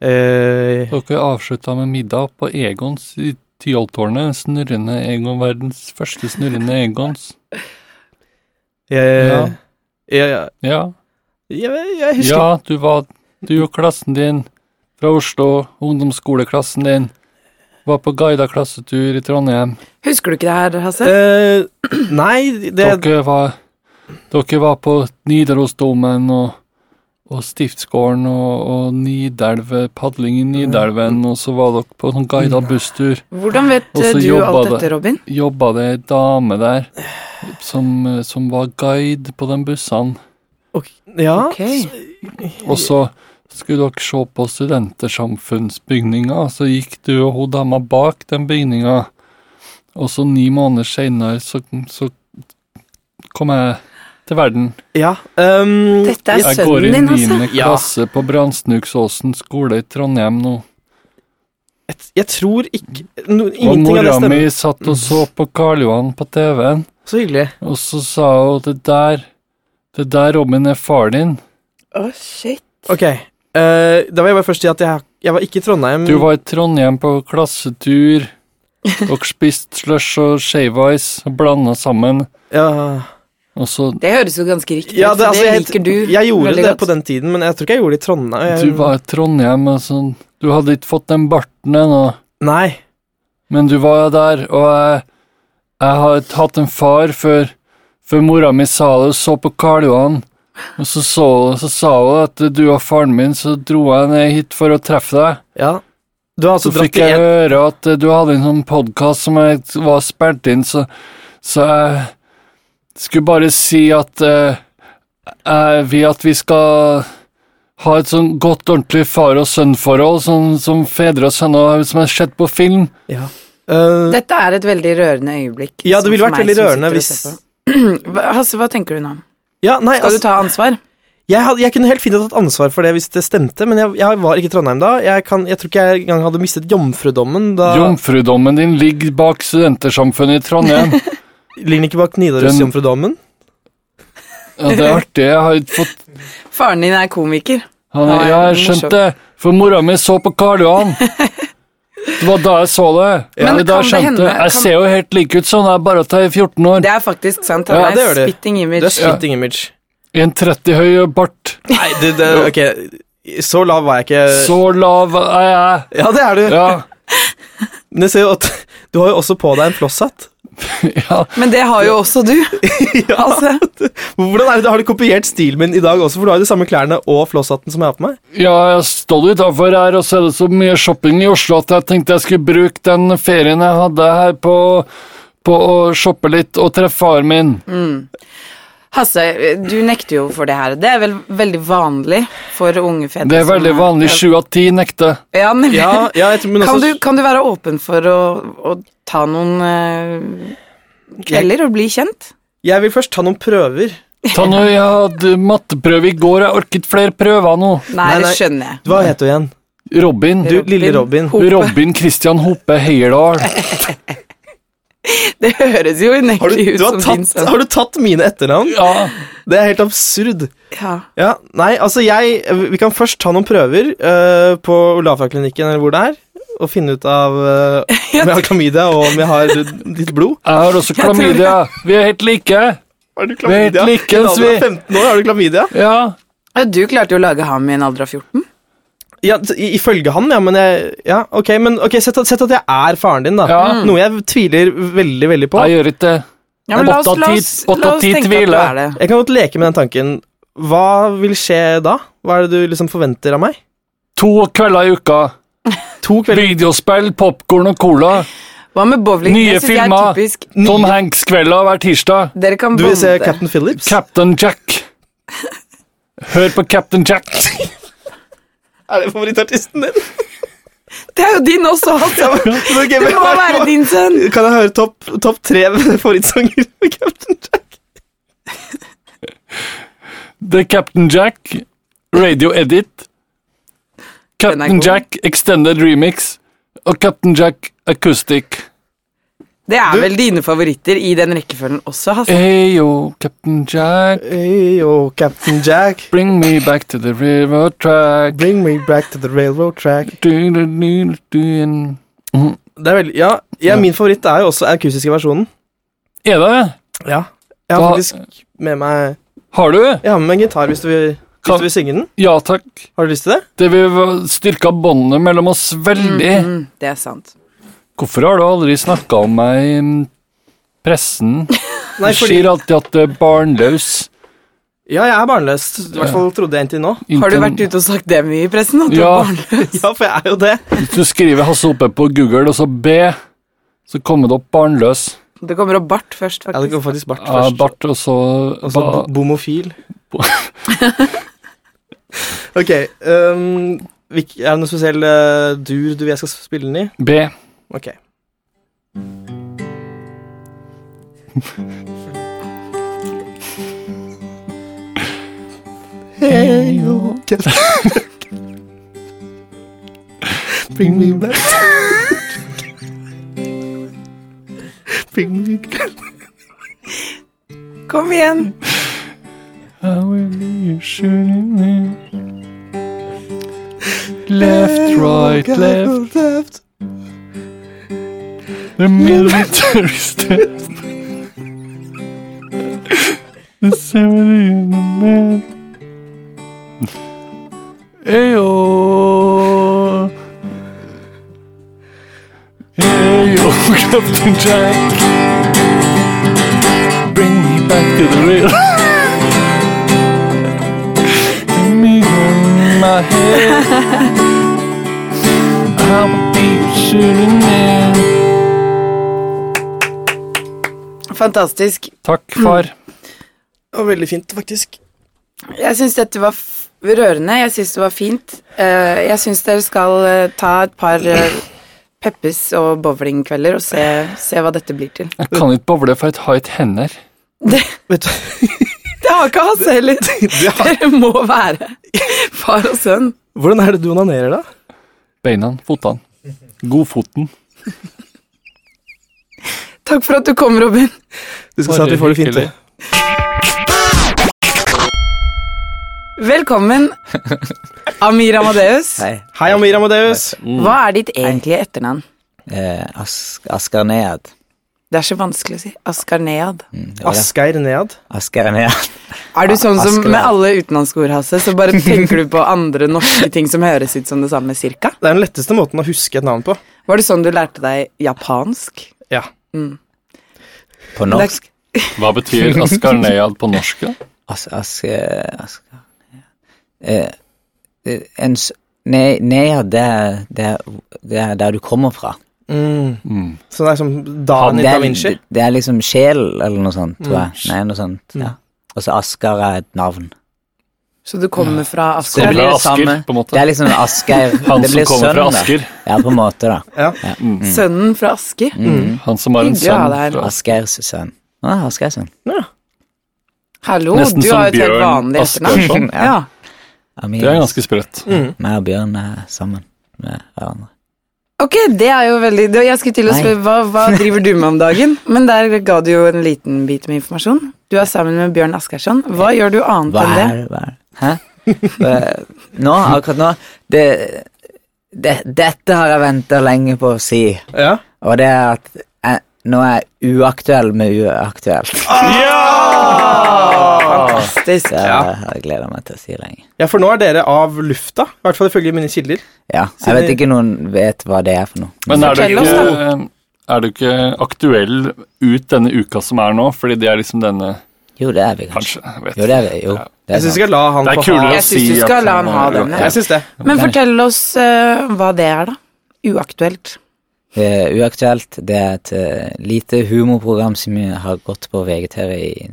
[SPEAKER 2] Eh,
[SPEAKER 3] Dere avslutta med middag på Egons i Tyholttårnet. en Snurrende Egon, verdens første snurrende Egons.
[SPEAKER 2] jeg,
[SPEAKER 3] Ja.
[SPEAKER 2] jeg, jeg,
[SPEAKER 3] Ja.
[SPEAKER 2] jeg, jeg husker
[SPEAKER 3] Ja, du var Du og klassen din fra Oslo, ungdomsskoleklassen din, var på guida klassetur i Trondheim.
[SPEAKER 1] Husker du ikke det her, Hasse?
[SPEAKER 2] Eh, Nei, det
[SPEAKER 3] Dere var Dere var på Nidarosdomen og og Stiftsgården og, og Nidelve, padling i Nidelven, og så var dere på sånn guida busstur.
[SPEAKER 1] Hvordan vet
[SPEAKER 3] Og så
[SPEAKER 1] eh, du
[SPEAKER 3] jobba
[SPEAKER 1] alt
[SPEAKER 3] det.
[SPEAKER 1] dette, Robin?
[SPEAKER 3] Jobba det ei dame der som, eh, som var guide på de bussene.
[SPEAKER 2] Ok, ja.
[SPEAKER 1] Ok.
[SPEAKER 3] Og så skulle dere se på studentersamfunnsbygninga, så gikk du og hun dama bak den bygninga. Og så ni måneder seinere så, så kom jeg til verden.
[SPEAKER 2] ja ehm,
[SPEAKER 1] Dette er
[SPEAKER 3] Jeg går
[SPEAKER 1] sønnen
[SPEAKER 3] i
[SPEAKER 1] din, altså.
[SPEAKER 3] niende
[SPEAKER 2] Ja.
[SPEAKER 3] klasse på Brandsnuksåsen skole i Trondheim nå.
[SPEAKER 2] jeg, jeg tror ikke no,
[SPEAKER 3] Og
[SPEAKER 2] Ingenting av det
[SPEAKER 3] mora mi
[SPEAKER 2] stemmer.
[SPEAKER 3] satt og så på Karl Johan på TV-en,
[SPEAKER 2] Så hyggelig.
[SPEAKER 3] og så sa hun det der Det der, Robin, er far din.
[SPEAKER 1] Å, shit.
[SPEAKER 2] Ok. eh, da vil jeg bare først si at jeg, jeg var ikke i Trondheim.
[SPEAKER 1] Mm.
[SPEAKER 3] Du var i Trondheim på klassetur. Dere spiste slush og shave ice og blanda sammen.
[SPEAKER 2] ja,
[SPEAKER 3] Og så
[SPEAKER 1] Det høres jo ganske riktig ut,
[SPEAKER 2] ja, det,
[SPEAKER 1] så
[SPEAKER 2] altså,
[SPEAKER 1] det
[SPEAKER 2] jeg,
[SPEAKER 1] liker du
[SPEAKER 2] jeg gjorde
[SPEAKER 1] veldig
[SPEAKER 2] det
[SPEAKER 1] godt.
[SPEAKER 2] på den tiden, men jeg tror ikke jeg gjorde det i
[SPEAKER 1] Eh.
[SPEAKER 2] Trondheim. Jeg,
[SPEAKER 3] Du var i Trondheim og sånn Du hadde ikke fått den barten ennå,
[SPEAKER 2] Nei.
[SPEAKER 3] men du var der, og jeg Jeg har ikke hatt en far før Før mora mi sa det og så på Karl Johan. Og så, så, så sa hun at du var faren min, så dro jeg ned hit for å treffe deg.
[SPEAKER 2] Ja. Du har
[SPEAKER 3] Så,
[SPEAKER 2] altså dratt
[SPEAKER 3] fikk
[SPEAKER 2] i
[SPEAKER 3] jeg
[SPEAKER 2] en
[SPEAKER 3] høre at eh, du hadde en sånn podkast som jeg var spilt inn, så, så jeg skulle bare si at eh, jeg vil at vi skal ha et sånn godt, ordentlig far og sønn-forhold, sånn som fedre og sønner som jeg har sett på film.
[SPEAKER 2] ja. Eh,
[SPEAKER 1] Dette er et veldig rørende øyeblikk.
[SPEAKER 2] ja, det
[SPEAKER 1] sånn for
[SPEAKER 2] ville vært
[SPEAKER 1] meg
[SPEAKER 2] veldig
[SPEAKER 1] som sitter
[SPEAKER 2] rørende
[SPEAKER 1] og
[SPEAKER 2] hvis
[SPEAKER 1] ser på. Hva- Hasse, hva tenker du nå?
[SPEAKER 2] ja, nei,
[SPEAKER 1] Skal
[SPEAKER 2] altså,
[SPEAKER 1] du ta ansvar?
[SPEAKER 2] jeg, had- jeg kunne helt fint ha tatt ansvar for det hvis det stemte, men jeg, jeg var ikke i Trondheim da. Jeg, kan, jeg tror ikke jeg engang hadde mistet jomfrudommen. Da
[SPEAKER 3] Jomfrudommen din ligger bak Studentersamfunnet i Trondheim.
[SPEAKER 2] ligger den ikke bak Nidaros-jomfrudommen.
[SPEAKER 3] Ja, det er artig. Jeg har ikke fått
[SPEAKER 1] Faren din er komiker.
[SPEAKER 3] han,
[SPEAKER 1] Nei,
[SPEAKER 3] Jeg har
[SPEAKER 1] morsom.
[SPEAKER 3] skjønt det, for mora mi så på Karl Johan. Det var da jeg så det.
[SPEAKER 1] Ja. Men
[SPEAKER 3] det da
[SPEAKER 1] kan det
[SPEAKER 3] skjønte
[SPEAKER 1] hende-
[SPEAKER 3] jeg.
[SPEAKER 1] kan-
[SPEAKER 3] Jeg ser jo helt lik ut sånn, jeg er bare at jeg er 14 år.
[SPEAKER 1] Det er faktisk sant.
[SPEAKER 2] Ja,
[SPEAKER 1] Han
[SPEAKER 2] det
[SPEAKER 1] er
[SPEAKER 2] gjør det.
[SPEAKER 1] spitting
[SPEAKER 2] Det
[SPEAKER 1] image.
[SPEAKER 2] er slitting image.
[SPEAKER 3] 1,30 høy og bart.
[SPEAKER 2] Nei, det, det, ok, så lav var jeg ikke.
[SPEAKER 1] Eh.
[SPEAKER 3] Så lav er jeg.
[SPEAKER 2] Ja, det er du.
[SPEAKER 3] Ja,
[SPEAKER 2] Men jeg ser jo at du har jo også på deg en flosshatt.
[SPEAKER 3] ja.
[SPEAKER 1] Men det har jo også du. altså,
[SPEAKER 2] Hvordan er det, Har du kopiert stilen min i dag også, for du har jo de samme klærne og flosshatten som jeg har på meg?
[SPEAKER 3] ja jeg står utafor her, og så er det så mye shopping i Oslo at jeg tenkte jeg skulle bruke den ferien jeg hadde her på, på å shoppe litt og treffe faren min.
[SPEAKER 1] Hasse, du nekter jo for det her. Det er vel veldig vanlig for unge fedre.
[SPEAKER 3] Det er
[SPEAKER 1] som
[SPEAKER 3] veldig vanlig. Sju av ti nekter.
[SPEAKER 1] Ja, nemlig.
[SPEAKER 2] Ja, ja, jeg tror, men
[SPEAKER 1] kan,
[SPEAKER 2] også,
[SPEAKER 1] du, kan du være åpen for å, å ta noen eh, kvelder og bli kjent?
[SPEAKER 2] Jeg vil først ta noen prøver.
[SPEAKER 3] Ta nå, Jeg hadde matteprøve i går, jeg orket flere prøver nå.
[SPEAKER 1] Nei,
[SPEAKER 2] Nei,
[SPEAKER 1] det
[SPEAKER 2] nei.
[SPEAKER 1] skjønner jeg.
[SPEAKER 2] Hva heter du igjen?
[SPEAKER 3] Robin.
[SPEAKER 2] Du, lille Robin.
[SPEAKER 1] Hope.
[SPEAKER 3] Robin Christian Hoppe Heierdal.
[SPEAKER 1] Det høres jo
[SPEAKER 2] Har du,
[SPEAKER 1] unektelig ut
[SPEAKER 2] du har,
[SPEAKER 1] som din
[SPEAKER 2] tatt,
[SPEAKER 1] sønn.
[SPEAKER 2] har du tatt mine etternavn?
[SPEAKER 3] Ja,
[SPEAKER 2] Det er helt absurd.
[SPEAKER 1] Ja.
[SPEAKER 2] Ja, nei, altså jeg Vi kan først ta noen prøver eh, på Olafaklinikken eller hvor det er, og finne ut av eh, om jeg har klamydia og om jeg har litt blod.
[SPEAKER 3] jeg har også klamydia. Vi er helt like.
[SPEAKER 2] Har du
[SPEAKER 3] helt
[SPEAKER 2] klamydia?
[SPEAKER 3] likens,
[SPEAKER 2] I en alder av
[SPEAKER 3] vi.
[SPEAKER 2] 15 år har du klamydia?
[SPEAKER 3] Ja.
[SPEAKER 1] Ja, Du klarte jo å lage ham i en alder av 14.
[SPEAKER 2] Ja, t- i- Ifølge han, ja, men jeg Ja, ok, men ok, sett, at- sett at jeg er faren din, da.
[SPEAKER 3] Ja.
[SPEAKER 2] Noe jeg tviler veldig, veldig på.
[SPEAKER 3] Jeg gjør ikke det.
[SPEAKER 1] Ja, men la oss,
[SPEAKER 3] Åtte av
[SPEAKER 1] la
[SPEAKER 3] ti-
[SPEAKER 1] oss,
[SPEAKER 3] åtte
[SPEAKER 1] la
[SPEAKER 3] av
[SPEAKER 1] oss
[SPEAKER 3] ti
[SPEAKER 1] tenke at du
[SPEAKER 3] tviler.
[SPEAKER 1] er det.
[SPEAKER 2] Jeg kan godt leke med den tanken. Hva vil skje da? Hva er det du liksom forventer av meg?
[SPEAKER 3] To kvelder i uka.
[SPEAKER 2] To kvelder
[SPEAKER 3] Videospill, popkorn og cola.
[SPEAKER 1] Hva med bowling?
[SPEAKER 3] Nye
[SPEAKER 1] Det synes jeg er
[SPEAKER 3] filmer.
[SPEAKER 1] typisk.
[SPEAKER 3] Tom Hanks-kvelder hver tirsdag.
[SPEAKER 1] Dere kan
[SPEAKER 2] Du vil se
[SPEAKER 1] bonde.
[SPEAKER 2] Captain Phillips?
[SPEAKER 3] Captain Jack. Hør på Captain Jack.
[SPEAKER 2] er det favorittartisten din?
[SPEAKER 1] Det er jo din også, altså.
[SPEAKER 2] Ok,
[SPEAKER 1] Det
[SPEAKER 2] men
[SPEAKER 1] må
[SPEAKER 2] hva-
[SPEAKER 1] være din sønn.
[SPEAKER 2] Kan jeg høre topp topp tre favorittsanger med Captain Jack?
[SPEAKER 3] Det er Captain Jack. Radio Edit. Captain
[SPEAKER 1] god.
[SPEAKER 3] Jack Extended Remix. Og Captain Jack Acoustic.
[SPEAKER 1] Det er
[SPEAKER 2] Du-
[SPEAKER 1] vel dine favoritter i den rekkefølgen også, Hasse.
[SPEAKER 3] Hey yo, Captain Jack.
[SPEAKER 2] Hey, oh, Captain Jack,
[SPEAKER 3] Bring me back to the river track.
[SPEAKER 2] bring me back to the railroad track.
[SPEAKER 3] Du, du, du, du, en-
[SPEAKER 2] Det er veldig, ja, ja,
[SPEAKER 3] Ja.
[SPEAKER 2] Min favoritt er jo også den akustiske versjonen.
[SPEAKER 3] Er det?
[SPEAKER 2] Ja. Jeg har
[SPEAKER 3] Da-
[SPEAKER 2] faktisk med meg
[SPEAKER 3] Har du?
[SPEAKER 2] Jeg har med meg en gitar hvis du vil, hvis
[SPEAKER 3] Kan-
[SPEAKER 2] du vil synge den.
[SPEAKER 3] Ja takk.
[SPEAKER 2] Har du lyst til det?
[SPEAKER 3] Det vil styrke båndet mellom oss veldig.
[SPEAKER 1] Mm, det er sant.
[SPEAKER 3] Hvorfor har du aldri snakka om meg i mm, pressen?
[SPEAKER 2] Nei,
[SPEAKER 3] Du sier alltid at du er barnløs.
[SPEAKER 2] Ja, jeg er barnløs. I hvert fall trodde jeg inntil nå.
[SPEAKER 1] Har du vært ute og sagt det mye i pressen? At du
[SPEAKER 3] Ja.
[SPEAKER 1] er barnløs?
[SPEAKER 2] Ja, for jeg er jo det.
[SPEAKER 3] Hvis du skriver Hasse oppe på Google, og så B, så kommer det opp barnløs.
[SPEAKER 1] Det kommer opp bart først,
[SPEAKER 2] Ja, det
[SPEAKER 1] faktisk.
[SPEAKER 2] går faktisk bart
[SPEAKER 3] Ja,
[SPEAKER 2] først. Altså,
[SPEAKER 3] Bart, og så
[SPEAKER 2] Og så
[SPEAKER 3] ba-
[SPEAKER 2] bo- bomofil.
[SPEAKER 3] Bo-
[SPEAKER 2] ok. Um, hvilk- er det noe spesiell eh, dur du vil jeg skal spille den i?
[SPEAKER 3] B.
[SPEAKER 2] Ok. Hey, you Bring me back. Bring me back.
[SPEAKER 1] Kom igjen!
[SPEAKER 3] I will be shooting you. Left, right, left,
[SPEAKER 2] left.
[SPEAKER 3] the military step. The seven in the man. Ayo. Ayo, Captain Jack. Bring me back to the real. Bring me on my head. I'm a deep shooting man.
[SPEAKER 1] Fantastisk.
[SPEAKER 3] Takk, far.
[SPEAKER 2] Og veldig fint, faktisk.
[SPEAKER 1] Jeg syns dette var f rørende. Jeg syns det var fint. Eh, jeg syns dere skal eh, ta et par uh, Peppes og bowlingkvelder og se, se hva dette blir til.
[SPEAKER 3] Jeg kan ikke bowle for jeg har ikke hender.
[SPEAKER 1] Det,
[SPEAKER 2] Vet du,
[SPEAKER 1] det har ikke Hasse heller.
[SPEAKER 2] du har,
[SPEAKER 1] Dere må være far og sønn.
[SPEAKER 2] hvordan er det du onanerer, da?
[SPEAKER 3] Beina, fotene. Godfoten.
[SPEAKER 1] Takk for at du kom, Robin.
[SPEAKER 2] Du skal se at vi får det fint til.
[SPEAKER 1] Velkommen, Amir Amadeus.
[SPEAKER 4] Hei.
[SPEAKER 2] Hei, Amir Amadeus.
[SPEAKER 1] Hva er ditt egentlige etternavn?
[SPEAKER 4] Eh, As Asker Nead.
[SPEAKER 1] Det er så vanskelig å si. Askar Nead.
[SPEAKER 4] Mm, det var det.
[SPEAKER 2] Asgeir Nead.
[SPEAKER 4] Asker Nead.
[SPEAKER 1] Er du sånn som
[SPEAKER 4] Asker
[SPEAKER 1] med
[SPEAKER 4] Nead.
[SPEAKER 1] alle utenlandske ord, Hasse, så bare tenker du på andre norske ting som høres ut som det samme, cirka?
[SPEAKER 2] Det er den letteste måten å huske et navn på.
[SPEAKER 1] Var det sånn du lærte deg japansk?
[SPEAKER 2] Ja.
[SPEAKER 4] På
[SPEAKER 1] Det er-
[SPEAKER 4] norsk.
[SPEAKER 3] Hva betyr Askar Nejad på norsk? da?
[SPEAKER 4] As Asker Asker Nead. Eh, en s... Nei, Nead, det er, det, er, det er der du kommer fra.
[SPEAKER 2] Mm.
[SPEAKER 3] Mm.
[SPEAKER 2] Så det er som Daniel
[SPEAKER 4] det,
[SPEAKER 2] da
[SPEAKER 4] er,
[SPEAKER 2] Vinci.
[SPEAKER 4] det er liksom sjel, eller noe sånt, tror jeg.
[SPEAKER 3] Mm.
[SPEAKER 4] Nei, noe sånt. Ja. Og så Asker er et navn.
[SPEAKER 1] Så du kommer fra
[SPEAKER 4] Det
[SPEAKER 1] Asker?
[SPEAKER 4] blir det
[SPEAKER 3] Asker,
[SPEAKER 4] samme.
[SPEAKER 3] på en måte.
[SPEAKER 4] Det er liksom Asgeir
[SPEAKER 3] Han
[SPEAKER 4] Det
[SPEAKER 3] som
[SPEAKER 4] blir
[SPEAKER 3] kommer fra
[SPEAKER 4] sønnen, da.
[SPEAKER 3] Asker.
[SPEAKER 4] Ja, på en måte, da.
[SPEAKER 2] Ja.
[SPEAKER 1] Sønnen fra Asker?
[SPEAKER 4] Mm.
[SPEAKER 3] Han som har en
[SPEAKER 1] Hyggelig å ha
[SPEAKER 3] sønn.
[SPEAKER 1] deg her.
[SPEAKER 3] fra-
[SPEAKER 4] Asgeirs sønn. Ah, Asgeirs sønn.
[SPEAKER 2] Ja.
[SPEAKER 1] Hallo,
[SPEAKER 3] Nesten
[SPEAKER 1] du
[SPEAKER 3] som
[SPEAKER 1] har jo et helt
[SPEAKER 3] Bjørn
[SPEAKER 1] vanlig etternavn.
[SPEAKER 3] Asgarsson.
[SPEAKER 1] Ja.
[SPEAKER 3] Det er ganske sprøtt.
[SPEAKER 2] Mm.
[SPEAKER 4] Meg og Bjørn er sammen med hverandre.
[SPEAKER 1] Ok, det er jo veldig det- Jeg skulle til å
[SPEAKER 4] Nei.
[SPEAKER 1] spørre, hva, hva driver du med om dagen? Men der ga du jo en liten bit med informasjon. Du er sammen med Bjørn Askersson. Hva gjør du annet
[SPEAKER 4] Hva
[SPEAKER 1] enn
[SPEAKER 4] er
[SPEAKER 1] det?
[SPEAKER 4] det? Hva er det? Hæ? Eh, Nå, akkurat nå det, det, Dette har jeg venta lenge på å si,
[SPEAKER 2] ja.
[SPEAKER 4] og det er at jeg, nå er jeg uaktuell med uaktuelt.
[SPEAKER 1] Fantastisk.
[SPEAKER 4] Det
[SPEAKER 2] Ja.
[SPEAKER 4] har jeg gleda meg til å si lenge.
[SPEAKER 2] ja, for nå er dere av lufta. I hvert fall ifølge mine kilder.
[SPEAKER 4] Ja, jeg vet ikke noen vet hva det er for noe.
[SPEAKER 3] Men er du
[SPEAKER 1] Fortell oss,
[SPEAKER 3] ikke, eh, er du ikke aktuell ut denne uka som er nå? Fordi det er liksom denne
[SPEAKER 4] Jo, det er vi kanskje.
[SPEAKER 3] Kanskje. jeg Vet.
[SPEAKER 4] Jo, det er vi. Jo, det
[SPEAKER 2] Jeg
[SPEAKER 4] er
[SPEAKER 2] syns jeg
[SPEAKER 4] sant.
[SPEAKER 2] skal la han
[SPEAKER 3] Det er
[SPEAKER 2] få ha
[SPEAKER 3] kulere å
[SPEAKER 1] Jeg
[SPEAKER 3] si
[SPEAKER 1] synes du
[SPEAKER 3] at eh,
[SPEAKER 1] skal la
[SPEAKER 3] han
[SPEAKER 1] han ha
[SPEAKER 3] er
[SPEAKER 1] den,
[SPEAKER 3] uaktuell.
[SPEAKER 2] Jeg syns det.
[SPEAKER 1] Men fortell oss eh, hva det er, da. Uaktuelt.
[SPEAKER 4] Eh, Uaktuelt det er et eh, lite humorprogram som har gått på VGTV i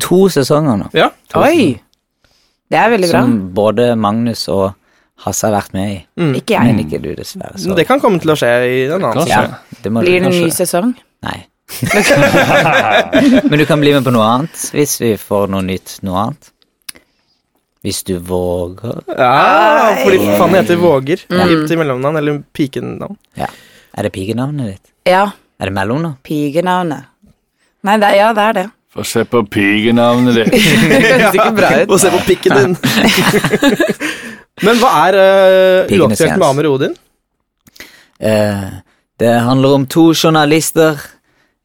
[SPEAKER 4] to sesonger nå.
[SPEAKER 2] Ja.
[SPEAKER 1] Oi! Det er veldig bra.
[SPEAKER 4] Som både Magnus og Hasse har vært med i.
[SPEAKER 3] Mm.
[SPEAKER 1] Ikke
[SPEAKER 4] Men
[SPEAKER 1] jeg.
[SPEAKER 4] ikke du, dessverre.
[SPEAKER 2] Men
[SPEAKER 4] Så.
[SPEAKER 2] Det kan komme til å skje i en annen
[SPEAKER 3] Kanskje.
[SPEAKER 4] ja, det må
[SPEAKER 1] Blir det
[SPEAKER 4] du
[SPEAKER 1] en ny
[SPEAKER 4] kanskje.
[SPEAKER 1] sesong?
[SPEAKER 4] Nei. Men du kan bli med på noe annet hvis vi får noe nytt noe annet. Hvis du våger.
[SPEAKER 2] Ja, fordi Fanny heter Våger
[SPEAKER 3] Mm.
[SPEAKER 2] i- til mellomnavn, eller pikenavn.
[SPEAKER 4] Ja. Er det pigenavnet ditt?
[SPEAKER 1] Ja.
[SPEAKER 4] Er det mellomnavn?
[SPEAKER 1] Pigenavnet. Nei, det er, ja, det er det.
[SPEAKER 3] Få se på pigenavnet ditt.
[SPEAKER 1] Det høres ikke bra ut.
[SPEAKER 2] Og se på pikken din! Men hva er eh, uaktuelt med
[SPEAKER 4] Pikenes Jens.
[SPEAKER 2] Amer Odin?
[SPEAKER 4] Eh, det handler om to journalister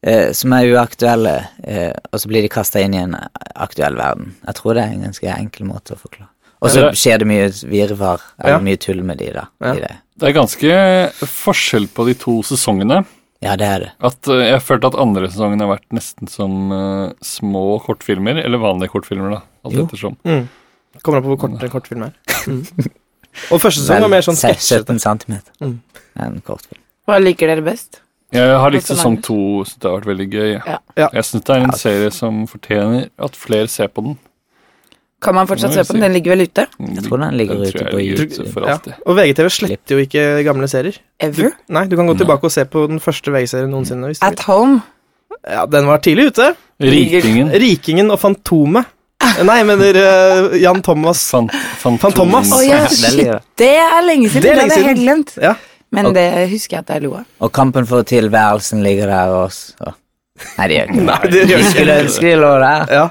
[SPEAKER 4] eh, som er uaktuelle, eh, og så blir de kasta inn i en aktuell verden. Jeg tror det er en ganske enkel måte å forklare. Og så
[SPEAKER 3] Ja, det-
[SPEAKER 4] skjer det mye virvar, eller
[SPEAKER 2] Ja.
[SPEAKER 4] mye tull med de, da.
[SPEAKER 2] Ja.
[SPEAKER 4] I det.
[SPEAKER 3] Det er ganske forskjell på de to sesongene.
[SPEAKER 4] Ja, det er det.
[SPEAKER 3] At eh, jeg følte at andre sesongen har vært nesten som eh, små kortfilmer, eller vanlige kortfilmer, da. Alt
[SPEAKER 4] Jo.
[SPEAKER 3] ettersom.
[SPEAKER 2] Mm. Kommer an på hvor kort en kortfilm er. Mm. Og første sesong var mer sånn
[SPEAKER 4] Vel,
[SPEAKER 2] sketsjete.
[SPEAKER 4] 17 centimeter.
[SPEAKER 2] Mm.
[SPEAKER 4] En kortfilm.
[SPEAKER 1] Hva liker dere best?
[SPEAKER 3] Jeg har likt
[SPEAKER 1] Også
[SPEAKER 3] sesong
[SPEAKER 1] langt.
[SPEAKER 3] to, så det har vært veldig gøy.
[SPEAKER 1] Ja.
[SPEAKER 2] Ja.
[SPEAKER 3] Jeg syns det er
[SPEAKER 4] Ja.
[SPEAKER 3] en serie som fortjener at flere ser på den.
[SPEAKER 1] Kan man fortsatt
[SPEAKER 3] Må vi
[SPEAKER 1] se på den? Den ligger vel ute?
[SPEAKER 4] Jeg tror den ligger ute på YouTube.
[SPEAKER 3] for
[SPEAKER 2] Ja.
[SPEAKER 3] alltid.
[SPEAKER 2] Og VGTV sletter jo ikke gamle serier. Du,
[SPEAKER 1] Ever?
[SPEAKER 2] nei, du kan gå tilbake og se på den første VG-serien noensinne. Hvis du vil.
[SPEAKER 1] At home?
[SPEAKER 2] Ja, den var tidlig ute.
[SPEAKER 3] Rikingen.
[SPEAKER 2] Rikingen og Fantomet. Nei, jeg mener eh, Jan Thomas.
[SPEAKER 3] Fan, fan,
[SPEAKER 2] Fantomas.
[SPEAKER 1] Å ja, shit, det er lenge siden!
[SPEAKER 2] Det
[SPEAKER 1] Det,
[SPEAKER 2] er lenge
[SPEAKER 1] hadde jeg helt
[SPEAKER 2] siden.
[SPEAKER 1] glemt.
[SPEAKER 2] Ja.
[SPEAKER 1] Men det husker jeg at jeg lo av.
[SPEAKER 4] Og Kampen for tilværelsen ligger der også. Så. Nei, det gjør ikke det.
[SPEAKER 2] Nei, det gjør
[SPEAKER 4] Vi
[SPEAKER 2] ikke
[SPEAKER 4] skulle ønske de lå der.
[SPEAKER 2] Ja.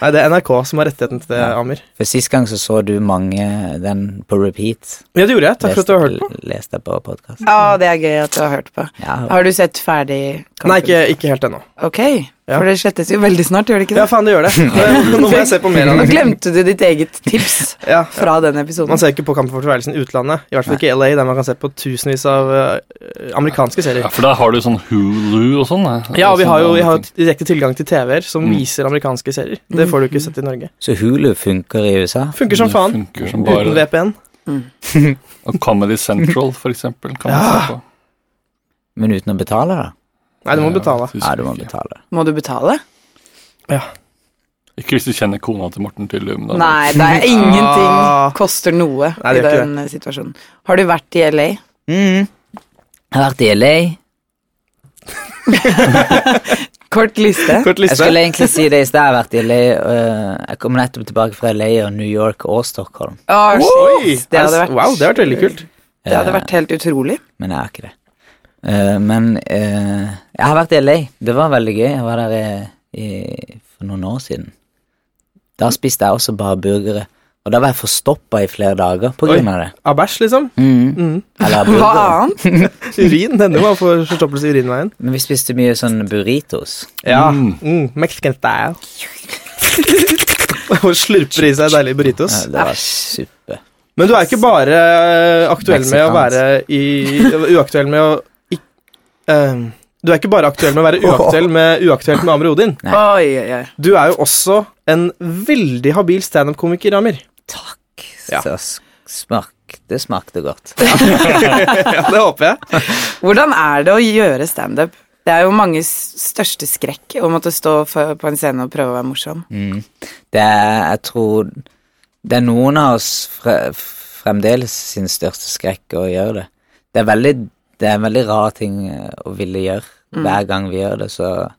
[SPEAKER 2] Nei, det er NRK som har rettigheten til det, Amir.
[SPEAKER 4] For sist gang så så du mange den på repeat.
[SPEAKER 2] Ja, det gjorde jeg. Takk for at du har hørt på.
[SPEAKER 4] Leste jeg på podkast.
[SPEAKER 1] Ja, det er gøy at du har hørt på.
[SPEAKER 4] Ja.
[SPEAKER 1] Har du sett ferdig kampen?
[SPEAKER 2] Nei, ikke, ikke helt ennå.
[SPEAKER 1] Ok,
[SPEAKER 2] Ja.
[SPEAKER 1] for det slettes jo veldig snart, gjør det ikke
[SPEAKER 2] Ja,
[SPEAKER 1] det?
[SPEAKER 2] faen, det gjør det. Nå må jeg se på mer av
[SPEAKER 1] Nå
[SPEAKER 2] det.
[SPEAKER 1] glemte du ditt eget tips
[SPEAKER 2] Ja.
[SPEAKER 1] fra den episoden.
[SPEAKER 2] Man ser ikke på Kampen for tilværelsen i utlandet. I hvert fall ikke i LA, der man kan se på tusenvis av eh, amerikanske serier.
[SPEAKER 3] Ja, for da har du sånn Hulu og sånn.
[SPEAKER 2] Ja, og vi har jo vi har
[SPEAKER 3] sånn-
[SPEAKER 2] jo direkte tilgang til TV-er som
[SPEAKER 3] Mm.
[SPEAKER 2] viser amerikanske serier. Det får du ikke sett i Norge.
[SPEAKER 4] Så Hulu funker i USA.
[SPEAKER 2] Funker som
[SPEAKER 3] Det
[SPEAKER 2] faen.
[SPEAKER 3] Funker som bare
[SPEAKER 2] Uten
[SPEAKER 3] det.
[SPEAKER 2] VPN.
[SPEAKER 3] Og Comedy Central, for eksempel, kan man se på.
[SPEAKER 4] Men uten å betale, da.
[SPEAKER 2] Nei, du må
[SPEAKER 3] Ja,
[SPEAKER 2] betale.
[SPEAKER 3] tusen
[SPEAKER 4] Ja, du må
[SPEAKER 3] ikke.
[SPEAKER 4] betale.
[SPEAKER 1] Må du betale?
[SPEAKER 3] Ikke hvis du kjenner kona til Morten Tyllum. da.
[SPEAKER 1] Nei, det er
[SPEAKER 2] Ah.
[SPEAKER 1] ingenting koster noe
[SPEAKER 2] Nei,
[SPEAKER 1] i
[SPEAKER 2] det gjør ikke
[SPEAKER 1] den situasjonen. Har du vært i LA?
[SPEAKER 4] Mm. Jeg har vært i LA.
[SPEAKER 1] Kort liste.
[SPEAKER 2] Kort
[SPEAKER 4] Jeg
[SPEAKER 2] liste.
[SPEAKER 4] skulle egentlig si det i sted. Jeg har vært i LA. øh, Jeg kom nettopp tilbake fra LA og New York og Stockholm.
[SPEAKER 1] Å,
[SPEAKER 2] Oi!
[SPEAKER 1] shit, det hadde vært
[SPEAKER 2] Wow, det hadde vært veldig kult.
[SPEAKER 1] Det
[SPEAKER 4] Eh,
[SPEAKER 1] hadde vært helt utrolig.
[SPEAKER 4] Men jeg er ikke det. Eh, men eh, jeg har vært i LA. Det var veldig gøy. Jeg var der i, i, for noen år siden. Da spiste jeg også bare burgere. Og da var jeg forstoppa i flere dager på
[SPEAKER 2] Oi.
[SPEAKER 4] grunn av det.
[SPEAKER 2] Av bæsj, liksom.
[SPEAKER 4] Mm.
[SPEAKER 2] Mm.
[SPEAKER 1] Hva
[SPEAKER 4] Eller burgere.
[SPEAKER 1] annet?
[SPEAKER 2] Urin. Denne var for forstoppelse i urinveien.
[SPEAKER 4] Men vi spiste mye sånn burritos.
[SPEAKER 2] Ja.
[SPEAKER 3] Mm.
[SPEAKER 2] Mm. Mexican style. Og slurper i seg deilige burritos.
[SPEAKER 4] Eh, Det var suppe.
[SPEAKER 2] Men du er ikke bare eh, aktuell med å være i Uaktuell med å ikk- eh, Du er ikke bare aktuell med å være uaktuell med, uaktuell med Amir Odin.
[SPEAKER 4] Nei.
[SPEAKER 1] Oi, oi, oi.
[SPEAKER 2] Du er jo også en veldig habil standup-komiker, Amir.
[SPEAKER 4] Takk.
[SPEAKER 2] Ja.
[SPEAKER 4] Så s- smak, det smakte godt.
[SPEAKER 2] Ja, det håper jeg.
[SPEAKER 1] Hvordan er det å gjøre standup? Det er jo manges største skrekk å måtte stå for- på en scene og prøve å være morsom.
[SPEAKER 4] Mm. Det er, jeg tror Det er noen av oss fre, fremdeles sin største skrekk å gjøre det. Det er veldig det er en veldig rar ting eh, å ville gjøre. Hver gang vi gjør det, så,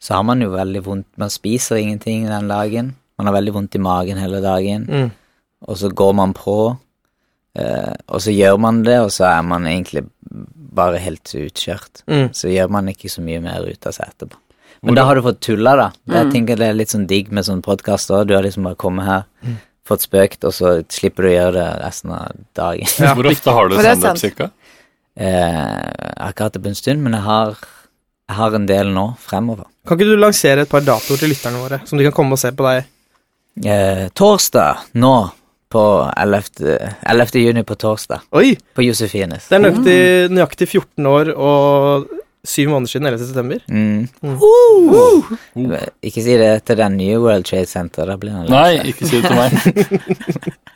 [SPEAKER 4] så har man jo veldig vondt Man spiser ingenting den dagen. Man har veldig vondt i magen hele dagen,
[SPEAKER 2] Mm.
[SPEAKER 4] og så går man på. eh, og så gjør man det, og så er man egentlig bare helt utkjørt.
[SPEAKER 2] Mm.
[SPEAKER 4] Så gjør man ikke så mye mer ut av seg etterpå. Men da har du fått tulla, da. Det, jeg tenker det er litt sånn digg med sånn podkast òg. Du har liksom bare kommet her, fått spøkt, og så slipper du å gjøre det resten av dagen.
[SPEAKER 3] Hvor ofte har du
[SPEAKER 1] For det er
[SPEAKER 3] standup,
[SPEAKER 1] sant.
[SPEAKER 3] cirka?
[SPEAKER 4] Eh, jeg har ikke hatt det på en stund, men jeg har, jeg har en del nå fremover.
[SPEAKER 2] Kan ikke du lansere et par datoer til lytterne våre, som de kan komme og se på deg?
[SPEAKER 4] Eh, torsdag nå, på 11. 11. juni på torsdag,
[SPEAKER 2] Oi!
[SPEAKER 4] på Josefines.
[SPEAKER 2] Det er nøyaktig,
[SPEAKER 4] Mm.
[SPEAKER 2] nøyaktig 14 år og 7 måneder siden 11. september.
[SPEAKER 4] Mm.
[SPEAKER 2] Mm.
[SPEAKER 4] Eh, Ikke si det til den nye World Trade Center, da blir han lei
[SPEAKER 3] Nei,
[SPEAKER 4] seg.
[SPEAKER 3] ikke si det til meg.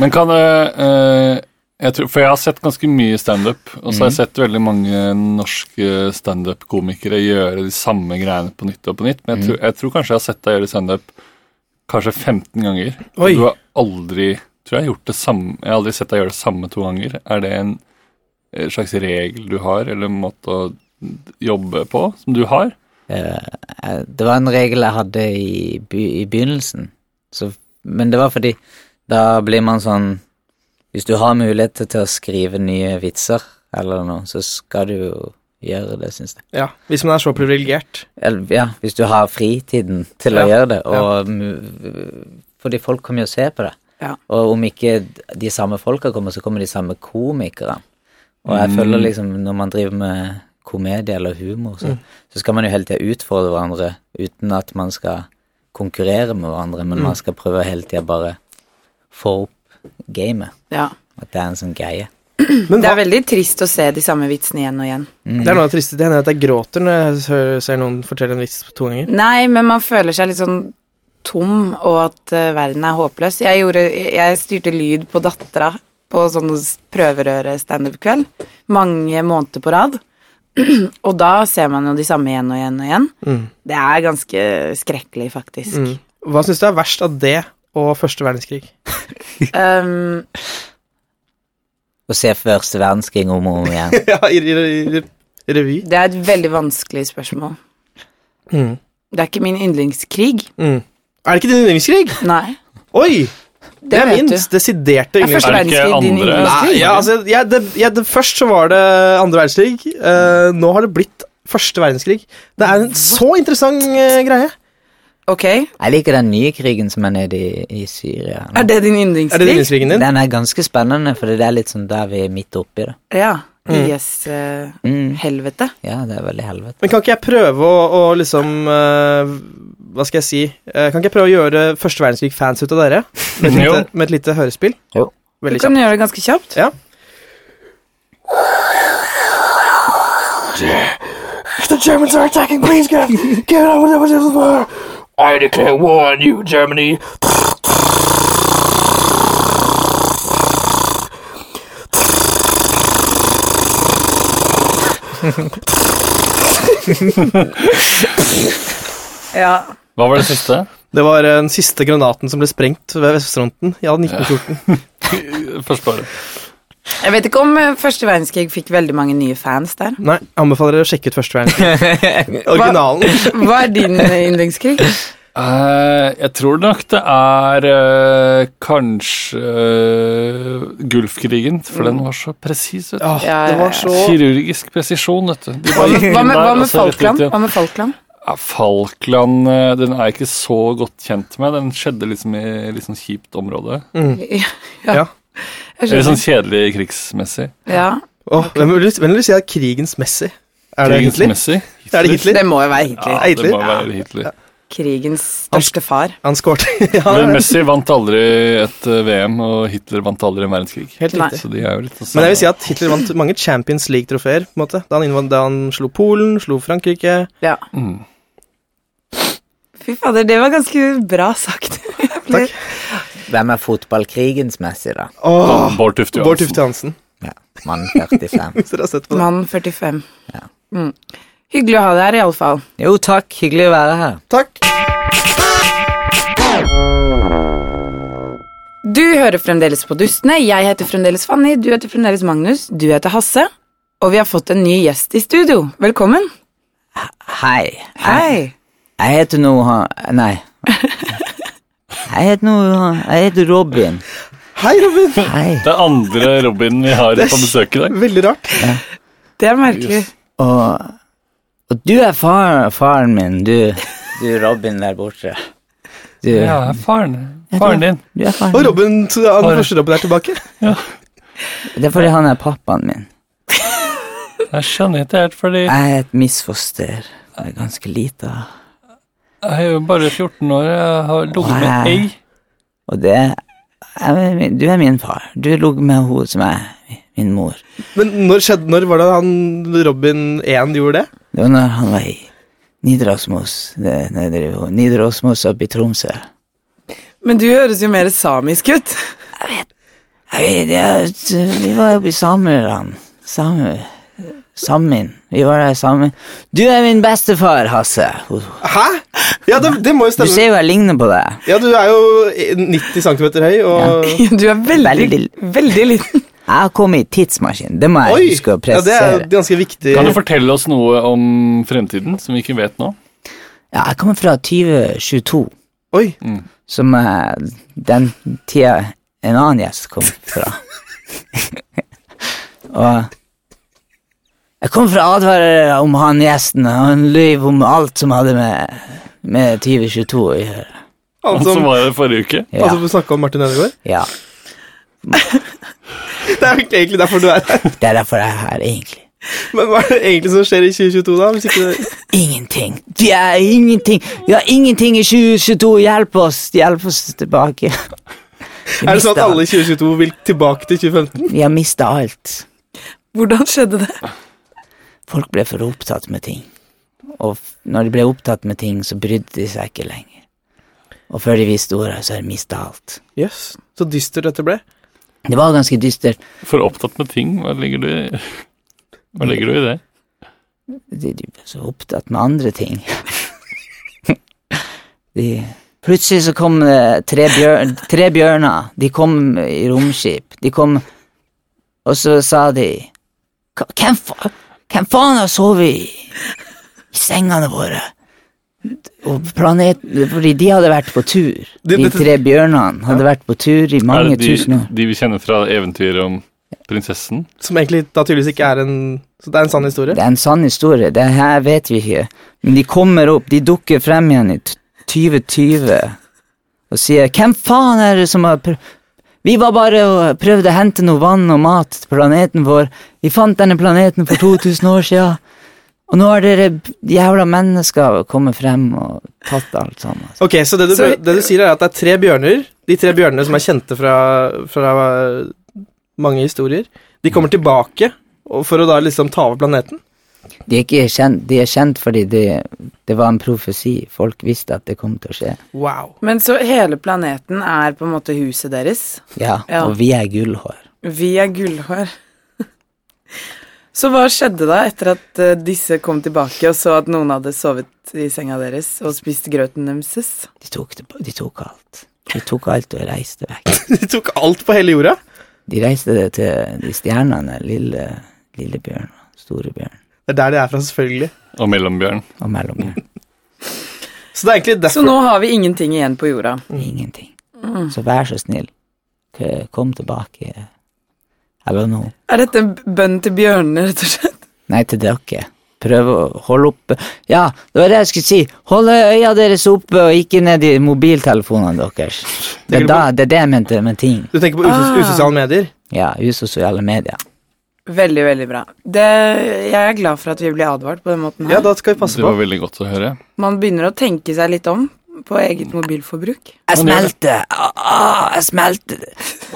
[SPEAKER 3] Men kan eh, eh, jeg tror, For jeg har sett ganske mye standup, og så har jeg
[SPEAKER 1] Mhm.
[SPEAKER 3] sett veldig mange norske standup-komikere gjøre de samme greiene på nytt og på nytt, men
[SPEAKER 1] Mhm.
[SPEAKER 3] jeg, tror, jeg tror kanskje jeg har sett deg gjøre standup kanskje 15 ganger. og
[SPEAKER 2] Oi.
[SPEAKER 3] Du har aldri tror jeg, har gjort det samme, jeg har aldri sett deg gjøre det samme to ganger. Er det en eh, slags regel du har, eller en måte å jobbe på, som du har?
[SPEAKER 4] Eh, eh, Det var en regel jeg hadde i, by, i begynnelsen, så, men det var fordi da blir man sånn Hvis du har muligheter til å skrive nye vitser eller noe, så skal du jo gjøre det, syns jeg.
[SPEAKER 2] Ja, Hvis man er så privilegert.
[SPEAKER 4] Eller, ja, hvis du har fritiden til
[SPEAKER 2] Ja,
[SPEAKER 4] å gjøre det, og mu- Fordi folk kommer jo og ser på det.
[SPEAKER 1] Ja.
[SPEAKER 4] Og om ikke de samme folka kommer, så kommer de samme komikerne. Og jeg føler liksom, når man driver med komedie eller humor, så, så skal man jo hele tida utfordre hverandre uten at man skal konkurrere med hverandre, men man skal prøve hele tida bare få opp gamet.
[SPEAKER 1] Ja.
[SPEAKER 4] At det er en sånn greie.
[SPEAKER 2] Men
[SPEAKER 1] Det
[SPEAKER 2] hva,
[SPEAKER 1] er veldig trist å se de samme vitsene igjen og igjen.
[SPEAKER 4] Mm.
[SPEAKER 2] det er noe av det triste. Det hender at jeg gråter når jeg hører, ser noen fortelle en vits to ganger.
[SPEAKER 1] Nei, men man føler seg litt sånn tom, og at eh, verden er håpløs. Jeg, gjorde, jeg styrte lyd på dattera på sånn prøverøre-standup-kveld mange måneder på rad. og da ser man jo de samme igjen og igjen og igjen.
[SPEAKER 2] Mm.
[SPEAKER 1] Det er ganske skrekkelig, faktisk.
[SPEAKER 2] Mm. Hva syns du er verst av det og første verdenskrig?
[SPEAKER 1] Um,
[SPEAKER 4] Å se første verdenskrig om og om igjen.
[SPEAKER 2] ja, i, i, i, i revy.
[SPEAKER 1] det er et veldig vanskelig spørsmål.
[SPEAKER 2] Mm.
[SPEAKER 1] Det er ikke min yndlingskrig.
[SPEAKER 2] Mm. Er det ikke din yndlingskrig?
[SPEAKER 1] Nei,
[SPEAKER 2] Oi!
[SPEAKER 1] det,
[SPEAKER 2] Det er
[SPEAKER 1] vet
[SPEAKER 2] min
[SPEAKER 1] du.
[SPEAKER 2] desiderte
[SPEAKER 1] Det er første
[SPEAKER 2] yndlingskrig.
[SPEAKER 3] Er det ikke
[SPEAKER 1] verdenskrig din
[SPEAKER 3] andre?
[SPEAKER 2] Nei,
[SPEAKER 1] yndlingskrig.
[SPEAKER 2] ja, altså, jeg, det, jeg, det, først så var det andre verdenskrig. eh, nå har det blitt første verdenskrig. Det er en så interessant eh, greie.
[SPEAKER 1] Ok,
[SPEAKER 4] Jeg liker den nye krigen som er nede i, i Syria. nå.
[SPEAKER 1] er det din
[SPEAKER 2] Er det
[SPEAKER 1] yndlingskrig?
[SPEAKER 2] yndlingskrigen din?
[SPEAKER 4] Den er ganske spennende, for det er litt sånn der vi er midt oppi det.
[SPEAKER 1] Ja. eh,
[SPEAKER 2] Mm.
[SPEAKER 1] IS-helvete.
[SPEAKER 4] Mm. Ja, det er veldig helvete.
[SPEAKER 2] Men kan ikke jeg prøve å, å liksom eh, Hva skal jeg si? Eh, kan ikke jeg prøve å gjøre første verdenskrig-fans ut av dere? Med et
[SPEAKER 3] Jo.
[SPEAKER 2] lite, med et lite hørespill?
[SPEAKER 4] Jo.
[SPEAKER 1] Du
[SPEAKER 2] Veldig
[SPEAKER 1] kan
[SPEAKER 2] kjapt.
[SPEAKER 1] gjøre det ganske kjapt.
[SPEAKER 2] Ja.
[SPEAKER 5] The Germans are attacking. Please get out. Get out. Whatever this is for. I declare war on you, Germany.
[SPEAKER 1] Ja.
[SPEAKER 3] Hva var det siste?
[SPEAKER 2] Det var eh, den siste granaten som ble sprengt ved Vestfronten i 1914.
[SPEAKER 3] Forstår det.
[SPEAKER 1] Jeg vet ikke om eh, første verdenskrig fikk veldig mange nye fans der.
[SPEAKER 2] Nei, jeg anbefaler dere å sjekke ut første verdenskrig. Originalen.
[SPEAKER 1] Hva er din eh, yndlingskrig?
[SPEAKER 3] Eh, jeg tror nok det er eh, kanskje eh, Gulfkrigen, for den var så presis. vet du.
[SPEAKER 2] Åh,
[SPEAKER 1] Ja, ja, ja.
[SPEAKER 2] det Mm. var så
[SPEAKER 3] Kirurgisk presisjon, vet du. De
[SPEAKER 1] Hva
[SPEAKER 3] bare gikk
[SPEAKER 1] med, hva
[SPEAKER 3] inn
[SPEAKER 1] med,
[SPEAKER 3] der,
[SPEAKER 1] hva
[SPEAKER 3] og
[SPEAKER 1] med
[SPEAKER 3] så rett ut
[SPEAKER 1] Falkland?
[SPEAKER 3] igjen.
[SPEAKER 1] Hva med Falkland?
[SPEAKER 3] Ja, Falkland eh, den er jeg ikke så godt kjent med. Den skjedde liksom i litt sånn kjipt område.
[SPEAKER 2] mm. Ja.
[SPEAKER 1] Jeg
[SPEAKER 3] Eller sånn
[SPEAKER 1] skjønner.
[SPEAKER 3] kjedelig krigsmessig.
[SPEAKER 1] Ja.
[SPEAKER 2] Åh, hvem, vil, hvem vil du si er krigens Messi? Er det Hitler?
[SPEAKER 3] Krigsmessig.
[SPEAKER 2] Er det Hitler?
[SPEAKER 1] Det må jo være Hitler.
[SPEAKER 3] Ja,
[SPEAKER 2] Er Hitler?
[SPEAKER 3] det må være Hitler.
[SPEAKER 1] Krigens største far.
[SPEAKER 2] Han skårte. ja,
[SPEAKER 3] Men Messi vant aldri et eh, VM, og Hitler vant aldri en verdenskrig.
[SPEAKER 2] helt
[SPEAKER 1] Nei.
[SPEAKER 2] riktig.
[SPEAKER 3] Så de er jo litt sånn det
[SPEAKER 2] Men jeg vil si
[SPEAKER 3] samme.
[SPEAKER 2] at Hitler vant mange Champions League-trofeer. på en måte. Da han, innvand- da han slo Polen, slo Frankrike
[SPEAKER 1] Ja.
[SPEAKER 3] Mm.
[SPEAKER 1] Fy fader, det var ganske bra sagt. Jeg ble-
[SPEAKER 2] Takk.
[SPEAKER 4] Hvem er fotballkrigens messig, da?
[SPEAKER 2] Åh,
[SPEAKER 3] Mm. Bård Tufte
[SPEAKER 2] Bård
[SPEAKER 3] Johansen.
[SPEAKER 2] Tufte Hansen.
[SPEAKER 4] Ja, mann 45.
[SPEAKER 2] Hvis dere har sett på det.
[SPEAKER 1] Mann 45. Mm. Hyggelig å ha deg her, iallfall.
[SPEAKER 4] Jo, takk. Hyggelig å være her.
[SPEAKER 2] Takk.
[SPEAKER 1] Du hører fremdeles på Dustene. Jeg heter fremdeles Fanny, du heter fremdeles Magnus, du heter Hasse. Og vi har fått en ny gjest i studio. Velkommen.
[SPEAKER 4] Hei.
[SPEAKER 1] Hei.
[SPEAKER 4] Jeg heter nå han- Nei. Jeg heter nå han- Jeg heter Robin.
[SPEAKER 2] Hei, Robin.
[SPEAKER 4] Hei.
[SPEAKER 3] Det er andre Robin vi har på besøk i dag.
[SPEAKER 2] Veldig rart.
[SPEAKER 1] Det er merkelig.
[SPEAKER 4] Og, og du er far, faren min, du. Du Robin der borte. Du,
[SPEAKER 3] Ja, faren, faren din.
[SPEAKER 4] du er
[SPEAKER 2] Og
[SPEAKER 4] faren min.
[SPEAKER 2] Robin, han
[SPEAKER 3] Bare-
[SPEAKER 2] første Robin er tilbake.
[SPEAKER 4] Det er fordi han er pappaen min.
[SPEAKER 3] Jeg skjønner ikke helt, fordi
[SPEAKER 4] Jeg er et misfoster. Jeg er ganske lita.
[SPEAKER 3] jeg er jo bare 14 år. Jeg har ligget
[SPEAKER 4] Wow.
[SPEAKER 3] med ei.
[SPEAKER 4] Og det jeg, Du er min far. Du lå med hun som er min mor.
[SPEAKER 2] Men når, skjedde, når var det han Robin 1 gjorde det?
[SPEAKER 4] Det var når han var i Nidarosmos. det- nei, det er jo Nidarosmos oppe i Tromsø.
[SPEAKER 1] Men du høres jo mer samisk ut.
[SPEAKER 4] Nei, det er- Vi var oppe i Samerland. Samer... Samin. Vi var der sammen. Du er min bestefar, Hasse.
[SPEAKER 2] Hæ? Ja, det, det må jo
[SPEAKER 4] Du
[SPEAKER 2] stemme.
[SPEAKER 4] ser jo jeg ligner på deg.
[SPEAKER 2] Ja, du er jo 90 cm høy, og
[SPEAKER 1] Du er veldig,
[SPEAKER 4] Veldig.
[SPEAKER 1] veldig liten.
[SPEAKER 4] Jeg har kommet i tidsmaskinen. Det må jeg
[SPEAKER 2] Oi!
[SPEAKER 4] huske å
[SPEAKER 2] Ja, det er
[SPEAKER 4] presisere.
[SPEAKER 2] ganske viktig.
[SPEAKER 3] Kan du fortelle oss noe om fremtiden som vi ikke vet nå?
[SPEAKER 4] Ja, jeg kommer fra 2022,
[SPEAKER 2] Oi.
[SPEAKER 4] som er den tida en annen gjest kom fra. Og jeg kom fra advarer om han gjesten, og han løy om alt som hadde med, med 2022 å gjøre.
[SPEAKER 2] Han
[SPEAKER 3] Han
[SPEAKER 2] som,
[SPEAKER 3] som var her forrige uke?
[SPEAKER 4] Ja,
[SPEAKER 2] han som snakka om Martin Ødegaard.
[SPEAKER 4] ja.
[SPEAKER 2] Det er jo ikke egentlig derfor du er her.
[SPEAKER 4] Det er derfor jeg er her, egentlig.
[SPEAKER 2] Men hva er det egentlig som skjer i 2022, da? Hvis ikke det...
[SPEAKER 4] Ingenting. Det er ingenting. Vi har ingenting i 2022. Hjelp oss. Hjelp oss tilbake. Vi
[SPEAKER 2] Er det sånn at
[SPEAKER 4] mistet
[SPEAKER 2] alle i 2022 vil tilbake til 2015?
[SPEAKER 4] alt. Vi har mista alt.
[SPEAKER 1] Hvordan skjedde det?
[SPEAKER 4] Folk ble for opptatt med ting. Og f- når de ble opptatt med ting, så brydde de seg ikke lenger. Og før de visste ordet, så har de mista alt.
[SPEAKER 2] Jøss, yes, så dystert dette ble.
[SPEAKER 4] Det var ganske dystert.
[SPEAKER 3] For opptatt med ting, hva legger du i, hva legger du i det?
[SPEAKER 4] De, de ble så opptatt med andre ting. de Plutselig så kom det tre, bjør, tre bjørner. De kom i romskip. De kom Og så sa de "Hva- Hvem, fa hvem faen har sovet i, i sengene våre? Og planet, fordi de hadde vært på tur.
[SPEAKER 2] Det-
[SPEAKER 4] De
[SPEAKER 2] dette-
[SPEAKER 4] tre bjørnene hadde vært på tur i
[SPEAKER 3] Er
[SPEAKER 4] mange
[SPEAKER 3] det de,
[SPEAKER 4] tusen år.
[SPEAKER 3] de vi kjenner fra eventyret om prinsessen?
[SPEAKER 2] Som egentlig da tydeligvis ikke er en Så det er en sann historie.
[SPEAKER 4] Det er en sann historie. Det her vet vi ikke. Men de kommer opp, de dukker frem igjen i t- 2020 og sier 'Hvem faen er det som har prøvd Vi var bare og prøvde å hente noe vann og mat til planeten vår. Vi fant denne planeten for 2000 år siden. Og nå har dere b- jævla mennesker kommet frem og tatt alt sammen.
[SPEAKER 2] Ok, Så det du,
[SPEAKER 1] Så-
[SPEAKER 2] det du sier, er at det er tre bjørner. De tre bjørnene som er kjente fra, fra mange historier. De kommer tilbake og- for å da liksom ta over planeten.
[SPEAKER 4] De er, ikke kjent, de er kjent fordi det, det var en profesi. Folk visste at det kom til å skje.
[SPEAKER 2] Wow.
[SPEAKER 1] Men så hele planeten er på en måte huset deres.
[SPEAKER 4] Ja,
[SPEAKER 1] Ja.
[SPEAKER 4] Og vi er gullhår.
[SPEAKER 1] Vi er gullhår. Så hva skjedde da etter at eh, disse kom tilbake og så at noen hadde sovet i senga deres og spist grøten deres?
[SPEAKER 4] De tok, det, de tok alt. De tok alt og reiste vekk.
[SPEAKER 2] De tok alt på hele jorda.
[SPEAKER 4] De reiste det til de stjernene, lille, Lillebjørn og Storebjørn
[SPEAKER 2] Det er der de er fra, selvfølgelig.
[SPEAKER 3] Og mellombjørn.
[SPEAKER 4] og Mellombjørn.
[SPEAKER 2] Så det er egentlig
[SPEAKER 1] Så
[SPEAKER 2] derfor
[SPEAKER 1] nå har vi ingenting igjen på jorda.
[SPEAKER 4] Ingenting. Så vær så snill, k- kom tilbake. Eller noe.
[SPEAKER 1] Er dette en bønn til bjørnene, rett og slett?
[SPEAKER 4] Nei, til dere. Prøv å holde oppe Ja, det var det jeg skulle si. Holde øya deres oppe og ikke ned i mobiltelefonene deres. Det er, da, det, er det jeg mente med ting.
[SPEAKER 2] Du tenker på
[SPEAKER 1] Ah.
[SPEAKER 2] usos- usosiale medier?
[SPEAKER 4] Ja, usosiale medier.
[SPEAKER 1] Veldig, veldig bra. Det, jeg er glad for at vi blir advart på den måten
[SPEAKER 2] Ja,
[SPEAKER 1] her.
[SPEAKER 2] da skal vi passe
[SPEAKER 3] Det var
[SPEAKER 2] på.
[SPEAKER 3] veldig godt å høre.
[SPEAKER 1] Man begynner å tenke seg litt om på eget mobilforbruk.
[SPEAKER 4] Jeg
[SPEAKER 3] Man gjør det.
[SPEAKER 4] smelter! Ah, ah, jeg smelter!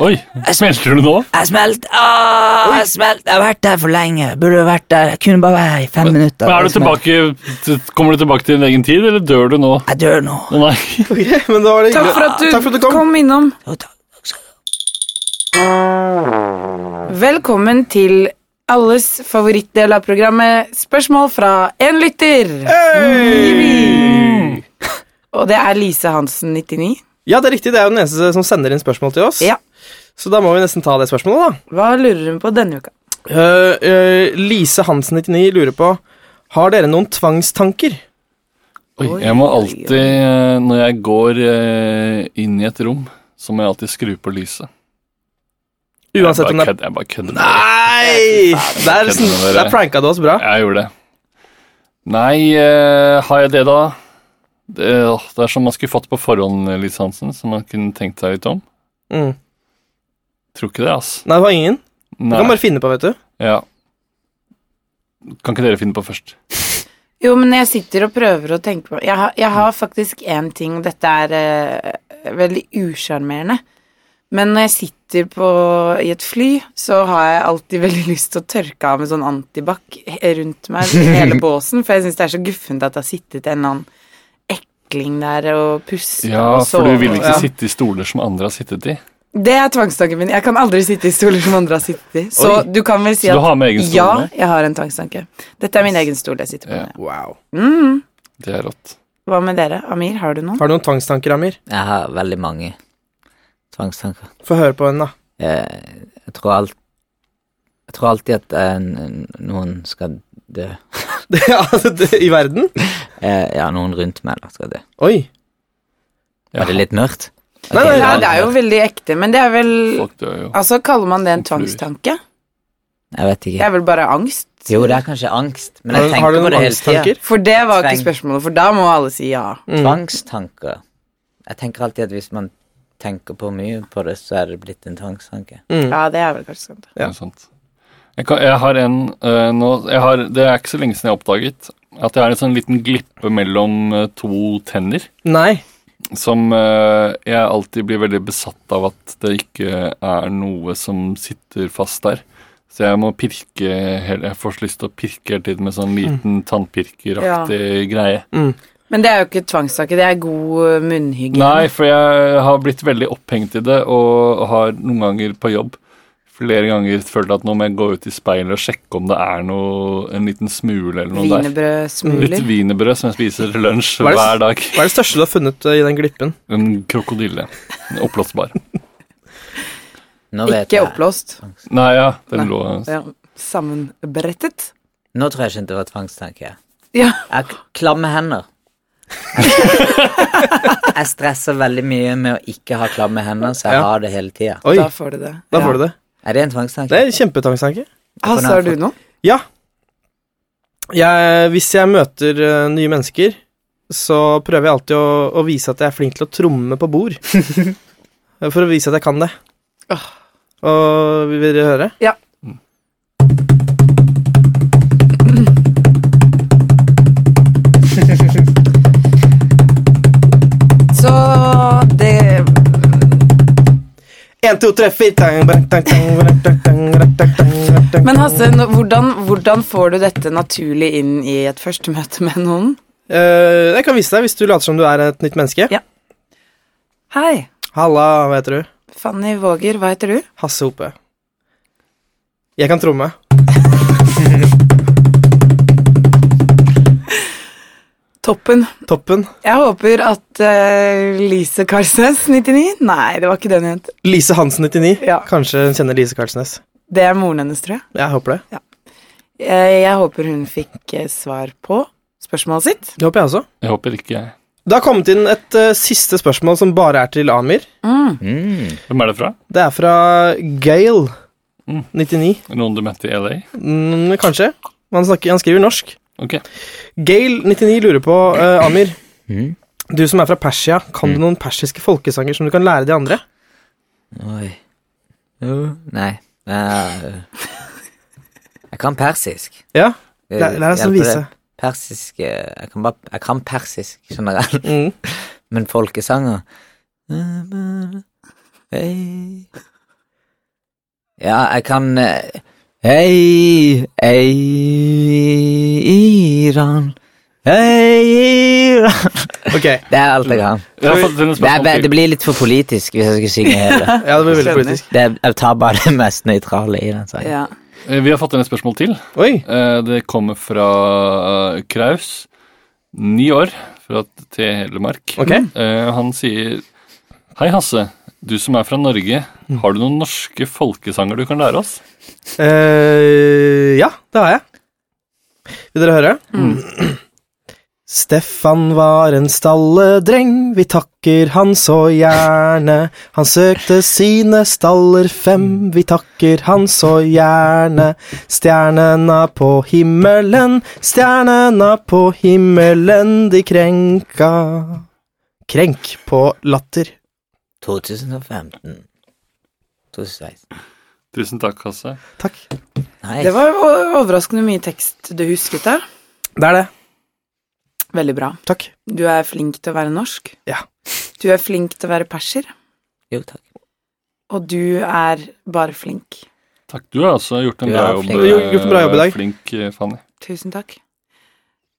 [SPEAKER 3] Oi, smelter du nå?
[SPEAKER 4] Jeg smelt! Åh, jeg smelt! Jeg har vært der for lenge. Burde jo vært der. Jeg kunne bare være her i fem minutter.
[SPEAKER 3] Men er
[SPEAKER 4] Jeg
[SPEAKER 3] du
[SPEAKER 4] smelt.
[SPEAKER 3] tilbake, kommer du tilbake til din egen tid, eller dør du nå?
[SPEAKER 4] Jeg dør nå.
[SPEAKER 3] Å nei.
[SPEAKER 2] Ok, men da var det
[SPEAKER 1] Takk
[SPEAKER 2] hyggelig.
[SPEAKER 1] for at du,
[SPEAKER 2] Takk for at du kom.
[SPEAKER 1] kom innom.
[SPEAKER 4] Jo, takk. Takk skal du ha.
[SPEAKER 1] Velkommen til alles favorittdel av programmet Spørsmål fra en lytter. Mm. Og det er Lise Hansen, 99.
[SPEAKER 2] Ja, det er riktig. Det er jo den eneste som sender inn spørsmål til oss.
[SPEAKER 1] Ja.
[SPEAKER 2] Så da må vi nesten ta det spørsmålet, da.
[SPEAKER 1] Hva lurer hun på denne uka?
[SPEAKER 2] Eh, eh, Lise Hansen 99 lurer på Har dere noen tvangstanker?
[SPEAKER 3] Oi, jeg må alltid, eh, når jeg går eh, inn i et rom, så må jeg alltid skru på lyset.
[SPEAKER 2] Uansett
[SPEAKER 3] jeg
[SPEAKER 2] om det
[SPEAKER 3] bare
[SPEAKER 2] er
[SPEAKER 3] kødder. Jeg bare kødder.
[SPEAKER 2] Nei! Der, sn-
[SPEAKER 3] Kødder dere.
[SPEAKER 2] der pranka du oss bra.
[SPEAKER 3] Jeg gjorde det. Nei, eh, har jeg det, da? Det, åh, det er som man skulle fått på forhånd, eh, Lise Hansen, sånn, som man kunne tenkt seg litt om.
[SPEAKER 2] Mm.
[SPEAKER 3] Tror ikke det, altså.
[SPEAKER 2] Nei, det var ingen. Du
[SPEAKER 3] Nei.
[SPEAKER 2] kan bare finne på, vet du.
[SPEAKER 3] Ja. Kan ikke dere finne på først?
[SPEAKER 1] Jo, men jeg sitter og prøver å tenke på Jeg har, jeg har faktisk én ting, og dette er eh, veldig usjarmerende. Men når jeg sitter på, i et fly, så har jeg alltid veldig lyst til å tørke av med sånn antibac he- rundt meg, hele båsen, for jeg syns det er så guffent at det har sittet en eller annen ekling der og pusta
[SPEAKER 3] Ja,
[SPEAKER 1] og
[SPEAKER 3] for du vil
[SPEAKER 1] sovet.
[SPEAKER 3] ikke
[SPEAKER 2] Ja.
[SPEAKER 3] sitte i stoler som andre har sittet i.
[SPEAKER 1] Det er tvangstanken min. Jeg kan aldri sitte i stoler som andre har sittet i. Så
[SPEAKER 2] Oi.
[SPEAKER 1] du kan vel si
[SPEAKER 3] Så
[SPEAKER 1] at
[SPEAKER 3] du har med egen stol
[SPEAKER 1] ja,
[SPEAKER 3] nå?
[SPEAKER 1] jeg har en tvangstanke. Dette er min egen stol jeg sitter på.
[SPEAKER 3] Ja.
[SPEAKER 1] nå.
[SPEAKER 2] Wow.
[SPEAKER 3] Det er rått.
[SPEAKER 1] Hva med dere? Amir, har du noen?
[SPEAKER 2] Har du noen tvangstanker, Amir?
[SPEAKER 4] Jeg har veldig mange tvangstanker.
[SPEAKER 2] Få høre på henne, da.
[SPEAKER 4] Eh, jeg tror alt Jeg tror alltid at eh, n- noen skal dø.
[SPEAKER 2] Det- altså, det- I verden?
[SPEAKER 4] Eh, ja, noen rundt meg da skal dø.
[SPEAKER 2] Oi.
[SPEAKER 4] Var det litt mørkt?
[SPEAKER 2] Nei, nei,
[SPEAKER 1] Ja, det er jo veldig ekte, men det er vel
[SPEAKER 3] Folk dør jo.
[SPEAKER 1] Altså, kaller man det en tvangstanke?
[SPEAKER 4] Jeg vet
[SPEAKER 1] Det
[SPEAKER 4] ikke.
[SPEAKER 1] er vel bare angst?
[SPEAKER 4] Jo, det er kanskje angst, men
[SPEAKER 2] Har
[SPEAKER 4] jeg
[SPEAKER 2] du, har
[SPEAKER 4] tenker
[SPEAKER 2] du
[SPEAKER 4] på
[SPEAKER 2] noen
[SPEAKER 4] det hele tida.
[SPEAKER 2] angsttanker? Mm.
[SPEAKER 1] For det var ikke
[SPEAKER 4] Tvang.
[SPEAKER 1] spørsmålet, for da må alle si ja.
[SPEAKER 4] Tvangstanker. Jeg tenker alltid at hvis man tenker på mye på det, så er det blitt en tvangstanke.
[SPEAKER 2] Mm.
[SPEAKER 1] Ja, det er vel kanskje sant.
[SPEAKER 2] Ja.
[SPEAKER 3] Det er sant. Jeg, kan, jeg har en eh, nå, jeg har, Det er ikke så lenge siden jeg oppdaget at jeg har en sånn liten glippe mellom eh, to tenner.
[SPEAKER 2] Nei.
[SPEAKER 3] som eh, jeg alltid blir veldig besatt av at det ikke er noe som sitter fast der. Så jeg må pirke hele, jeg får så lyst til å pirke hele tiden med sånn liten tannpirkeraktig greie.
[SPEAKER 2] Mm.
[SPEAKER 1] Men det er jo ikke tvangssaker, det er god eh, munnhygiene.
[SPEAKER 3] Nei, for jeg har blitt veldig opphengt i det, og har noen ganger på jobb flere ganger følt at nå må jeg gå ut i speilet og sjekke om det er noe, en liten smule eller noe der.
[SPEAKER 1] Wienerbrød,
[SPEAKER 3] Litt
[SPEAKER 1] smuler.
[SPEAKER 3] wienerbrød som jeg spiser til lunsj
[SPEAKER 2] Hva er det-
[SPEAKER 3] hver dag.
[SPEAKER 2] Hva er det største du har funnet eh, i den glippen?
[SPEAKER 3] En krokodille. En Oppblåsbar.
[SPEAKER 4] Nå vet
[SPEAKER 1] Ikke
[SPEAKER 4] jeg.
[SPEAKER 1] oppblåst.
[SPEAKER 3] Nei, ja, den
[SPEAKER 1] Nei.
[SPEAKER 3] lå
[SPEAKER 1] Ja, sammenbrettet.
[SPEAKER 4] Nå tror jeg ikke det var tvangstanke.
[SPEAKER 1] Ja.
[SPEAKER 4] Jeg har klamme hender. jeg stresser veldig mye med å ikke ha klamme hender, så jeg
[SPEAKER 2] Ja.
[SPEAKER 4] har det hele tida.
[SPEAKER 2] Oi,
[SPEAKER 1] Da får du det.
[SPEAKER 2] da får du det.
[SPEAKER 4] Er det en tvangstanke?
[SPEAKER 2] Det er en kjempetangstanke.
[SPEAKER 1] Hasse, har du noe?
[SPEAKER 2] Ja. Jeg, hvis jeg møter eh, nye mennesker, så prøver jeg alltid å, å vise at jeg er flink til å tromme på bord. For å vise at jeg kan det.
[SPEAKER 1] Åh.
[SPEAKER 2] Og vil dere høre?
[SPEAKER 1] Ja. Så det
[SPEAKER 2] Én, to, tre, fire tang, bang, tang, tang, bang, tang, tang, bang, tang, tang, tang.
[SPEAKER 1] Men Hasse, nå- hvordan, hvordan får du dette naturlig inn i et første møte med noen?
[SPEAKER 2] Eh, Jeg kan vise deg hvis du later som du er et nytt menneske.
[SPEAKER 1] Ja. Hei,
[SPEAKER 2] Halla, hva heter du?
[SPEAKER 1] Fanny Våger, hva heter du?
[SPEAKER 2] Hasse Hope. Jeg kan tromme.
[SPEAKER 1] Toppen.
[SPEAKER 2] Toppen.
[SPEAKER 1] Jeg håper at eh, Lise Karsnes, 99 Nei, det var ikke den hun het.
[SPEAKER 2] Lise Hansen 99.
[SPEAKER 1] Ja.
[SPEAKER 2] Kanskje hun kjenner Lise Karlsnes.
[SPEAKER 1] Det er moren hennes, tror jeg.
[SPEAKER 2] Jeg håper det.
[SPEAKER 1] Eh, Jeg håper hun fikk eh, svar på spørsmålet sitt.
[SPEAKER 2] Det håper jeg også.
[SPEAKER 3] Jeg håper ikke jeg.
[SPEAKER 2] Det har kommet inn et eh, siste spørsmål som bare er til Amir.
[SPEAKER 4] Mm.
[SPEAKER 3] Hvem er det fra?
[SPEAKER 2] Det er fra Gail.
[SPEAKER 3] Mm.
[SPEAKER 2] 99,
[SPEAKER 3] Noen du møtte i LA?
[SPEAKER 2] mm, kanskje. Han, snakker, han skriver norsk.
[SPEAKER 3] Ok.
[SPEAKER 2] Gail 99 lurer på, eh, Amir,
[SPEAKER 4] Mm.
[SPEAKER 2] du som er fra Persia, kan du noen persiske folkesanger som du kan lære de andre?
[SPEAKER 4] Oi. Jo, nei. Eh, jeg kan persisk.
[SPEAKER 2] Ja,
[SPEAKER 4] Det
[SPEAKER 2] lær, lær oss å
[SPEAKER 4] hjelper det.
[SPEAKER 2] vise.
[SPEAKER 4] Persisk eh, jeg kan, bare, jeg kan persisk generelt,
[SPEAKER 2] Mm.
[SPEAKER 4] men folkesanger Hei Ja, jeg kan eh, Hei, hei, Iran Hei, Iran
[SPEAKER 2] Ok,
[SPEAKER 4] Det er alt jeg kan.
[SPEAKER 3] Jeg har fått en
[SPEAKER 4] Det, er,
[SPEAKER 3] spørsmål
[SPEAKER 4] det
[SPEAKER 3] til.
[SPEAKER 4] blir litt for politisk hvis jeg skulle synge hele.
[SPEAKER 2] ja, det blir veldig
[SPEAKER 1] Skjønner.
[SPEAKER 2] politisk.
[SPEAKER 4] Det, er- jeg tar bare det mest nøytrale i den sangen.
[SPEAKER 1] Ja.
[SPEAKER 3] Eh, Vi har fått en spørsmål til.
[SPEAKER 2] Oi,
[SPEAKER 3] Eh, Det kommer fra eh, Kraus, ni år, fra Telemark.
[SPEAKER 2] ok.
[SPEAKER 3] Eh, Han sier Hei, Hasse. Du som er fra Norge,
[SPEAKER 2] Mm.
[SPEAKER 3] har du noen norske folkesanger du kan lære oss?
[SPEAKER 2] Eh, ja, det har jeg. Vil dere høre? Stefan var en stalledreng, vi takker han så gjerne. Han søkte sine staller fem, vi takker han så gjerne. Stjernena på himmelen, stjernena på himmelen, de krenka. Krenk på latter.
[SPEAKER 4] 2015. 2016.
[SPEAKER 3] Tusen takk, Hasse.
[SPEAKER 2] Takk.
[SPEAKER 4] Nice.
[SPEAKER 1] Det var jo o- overraskende mye tekst du husket der.
[SPEAKER 2] Det er det.
[SPEAKER 1] Veldig bra.
[SPEAKER 2] Takk.
[SPEAKER 1] Du er flink til å være norsk.
[SPEAKER 2] Ja.
[SPEAKER 1] Du er flink til å være perser,
[SPEAKER 4] Jo, takk.
[SPEAKER 1] og du er bare flink.
[SPEAKER 3] Takk, Du har også gjort en
[SPEAKER 4] Ja,
[SPEAKER 3] bra jobb.
[SPEAKER 4] flink.
[SPEAKER 3] eh,
[SPEAKER 2] Jo, gjort en bra jobb i dag.
[SPEAKER 3] Flink, eh, Fanny.
[SPEAKER 1] Tusen takk.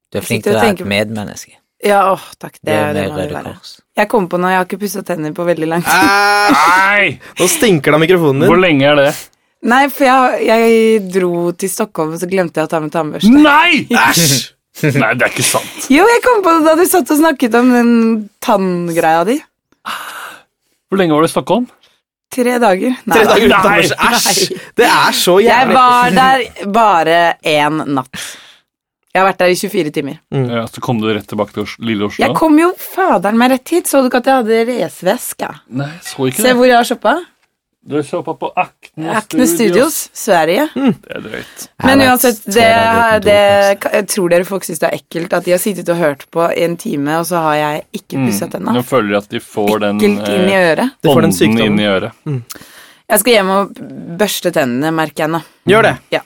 [SPEAKER 4] Du er
[SPEAKER 1] Jeg
[SPEAKER 4] flink
[SPEAKER 1] sitter
[SPEAKER 4] til å
[SPEAKER 1] og
[SPEAKER 4] være et
[SPEAKER 1] tenker-
[SPEAKER 4] medmenneske.
[SPEAKER 1] Ja, åh, takk.
[SPEAKER 4] Det
[SPEAKER 1] Det,
[SPEAKER 4] er
[SPEAKER 1] det,
[SPEAKER 4] med
[SPEAKER 1] må det
[SPEAKER 4] Røde
[SPEAKER 1] være.
[SPEAKER 4] Kors.
[SPEAKER 1] Jeg kom på noe, jeg har ikke pusset tenner på veldig lang tid.
[SPEAKER 3] Ah! Nei!
[SPEAKER 2] Nå stinker det av mikrofonen
[SPEAKER 3] Hvor
[SPEAKER 2] din.
[SPEAKER 3] lenge er det?
[SPEAKER 1] Nei, for jeg, jeg dro til Stockholm, og så glemte jeg å ta med tannbørste.
[SPEAKER 3] Nei! Æsj! Nei, det er ikke sant.
[SPEAKER 1] Jo, jeg kom på det da du satt og snakket om den tanngreia di.
[SPEAKER 3] Hvor lenge var du i Stockholm?
[SPEAKER 1] Tre dager. Nei,
[SPEAKER 2] Tre dager uten
[SPEAKER 3] Nei.
[SPEAKER 2] tannbørste. Æsj! Det er så
[SPEAKER 1] Jeg
[SPEAKER 2] jævlig.
[SPEAKER 1] var der bare én natt. Jeg har vært der i 24 timer.
[SPEAKER 2] Mm.
[SPEAKER 3] Ja, så Eh, altså, kom du rett tilbake til Os lille Oslo?
[SPEAKER 1] Jeg kom jo faderen meg rett hit. Så du ikke at jeg hadde raceveske?
[SPEAKER 3] Nei, jeg så ikke
[SPEAKER 1] Se
[SPEAKER 3] det.
[SPEAKER 1] hvor jeg har shoppa.
[SPEAKER 3] Du så på på Akne,
[SPEAKER 1] Acne Studios, Sverige.
[SPEAKER 3] Det er drøyt.
[SPEAKER 1] Men
[SPEAKER 4] Jeg har vært
[SPEAKER 1] uansett,
[SPEAKER 4] tre
[SPEAKER 1] det,
[SPEAKER 4] dager uten
[SPEAKER 1] det,
[SPEAKER 4] dopings.
[SPEAKER 1] jeg tror dere folk syns det er ekkelt at de har sittet og hørt på i en time, og så har jeg ikke pussa tenna.
[SPEAKER 3] Mm, Nå føler jeg at de får den
[SPEAKER 1] Ekkelt inn i
[SPEAKER 3] eh,
[SPEAKER 1] øret.
[SPEAKER 2] Du får
[SPEAKER 3] ånden
[SPEAKER 2] den sykdommen.
[SPEAKER 3] inn i øret.
[SPEAKER 1] Jeg skal hjem og børste tennene, merker jeg nå.
[SPEAKER 2] Gjør det.
[SPEAKER 1] Ja.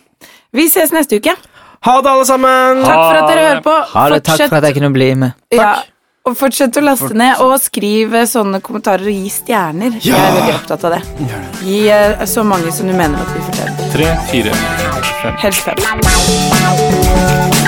[SPEAKER 1] Vi ses neste uke.
[SPEAKER 2] Ha det, alle sammen!
[SPEAKER 1] Takk for at
[SPEAKER 3] Ha
[SPEAKER 1] dere hører
[SPEAKER 3] det.
[SPEAKER 1] på.
[SPEAKER 4] Ha det. Takk for at jeg kunne bli med.
[SPEAKER 1] Ja, Og fortsett å laste ned, og skriv eh, sånne kommentarer og gi stjerner. Jeg er veldig opptatt av det. Gi eh, så mange som du mener at vi fortjener.
[SPEAKER 3] Tre, fire, fem.
[SPEAKER 1] Helst fem.
[SPEAKER 6] Bye.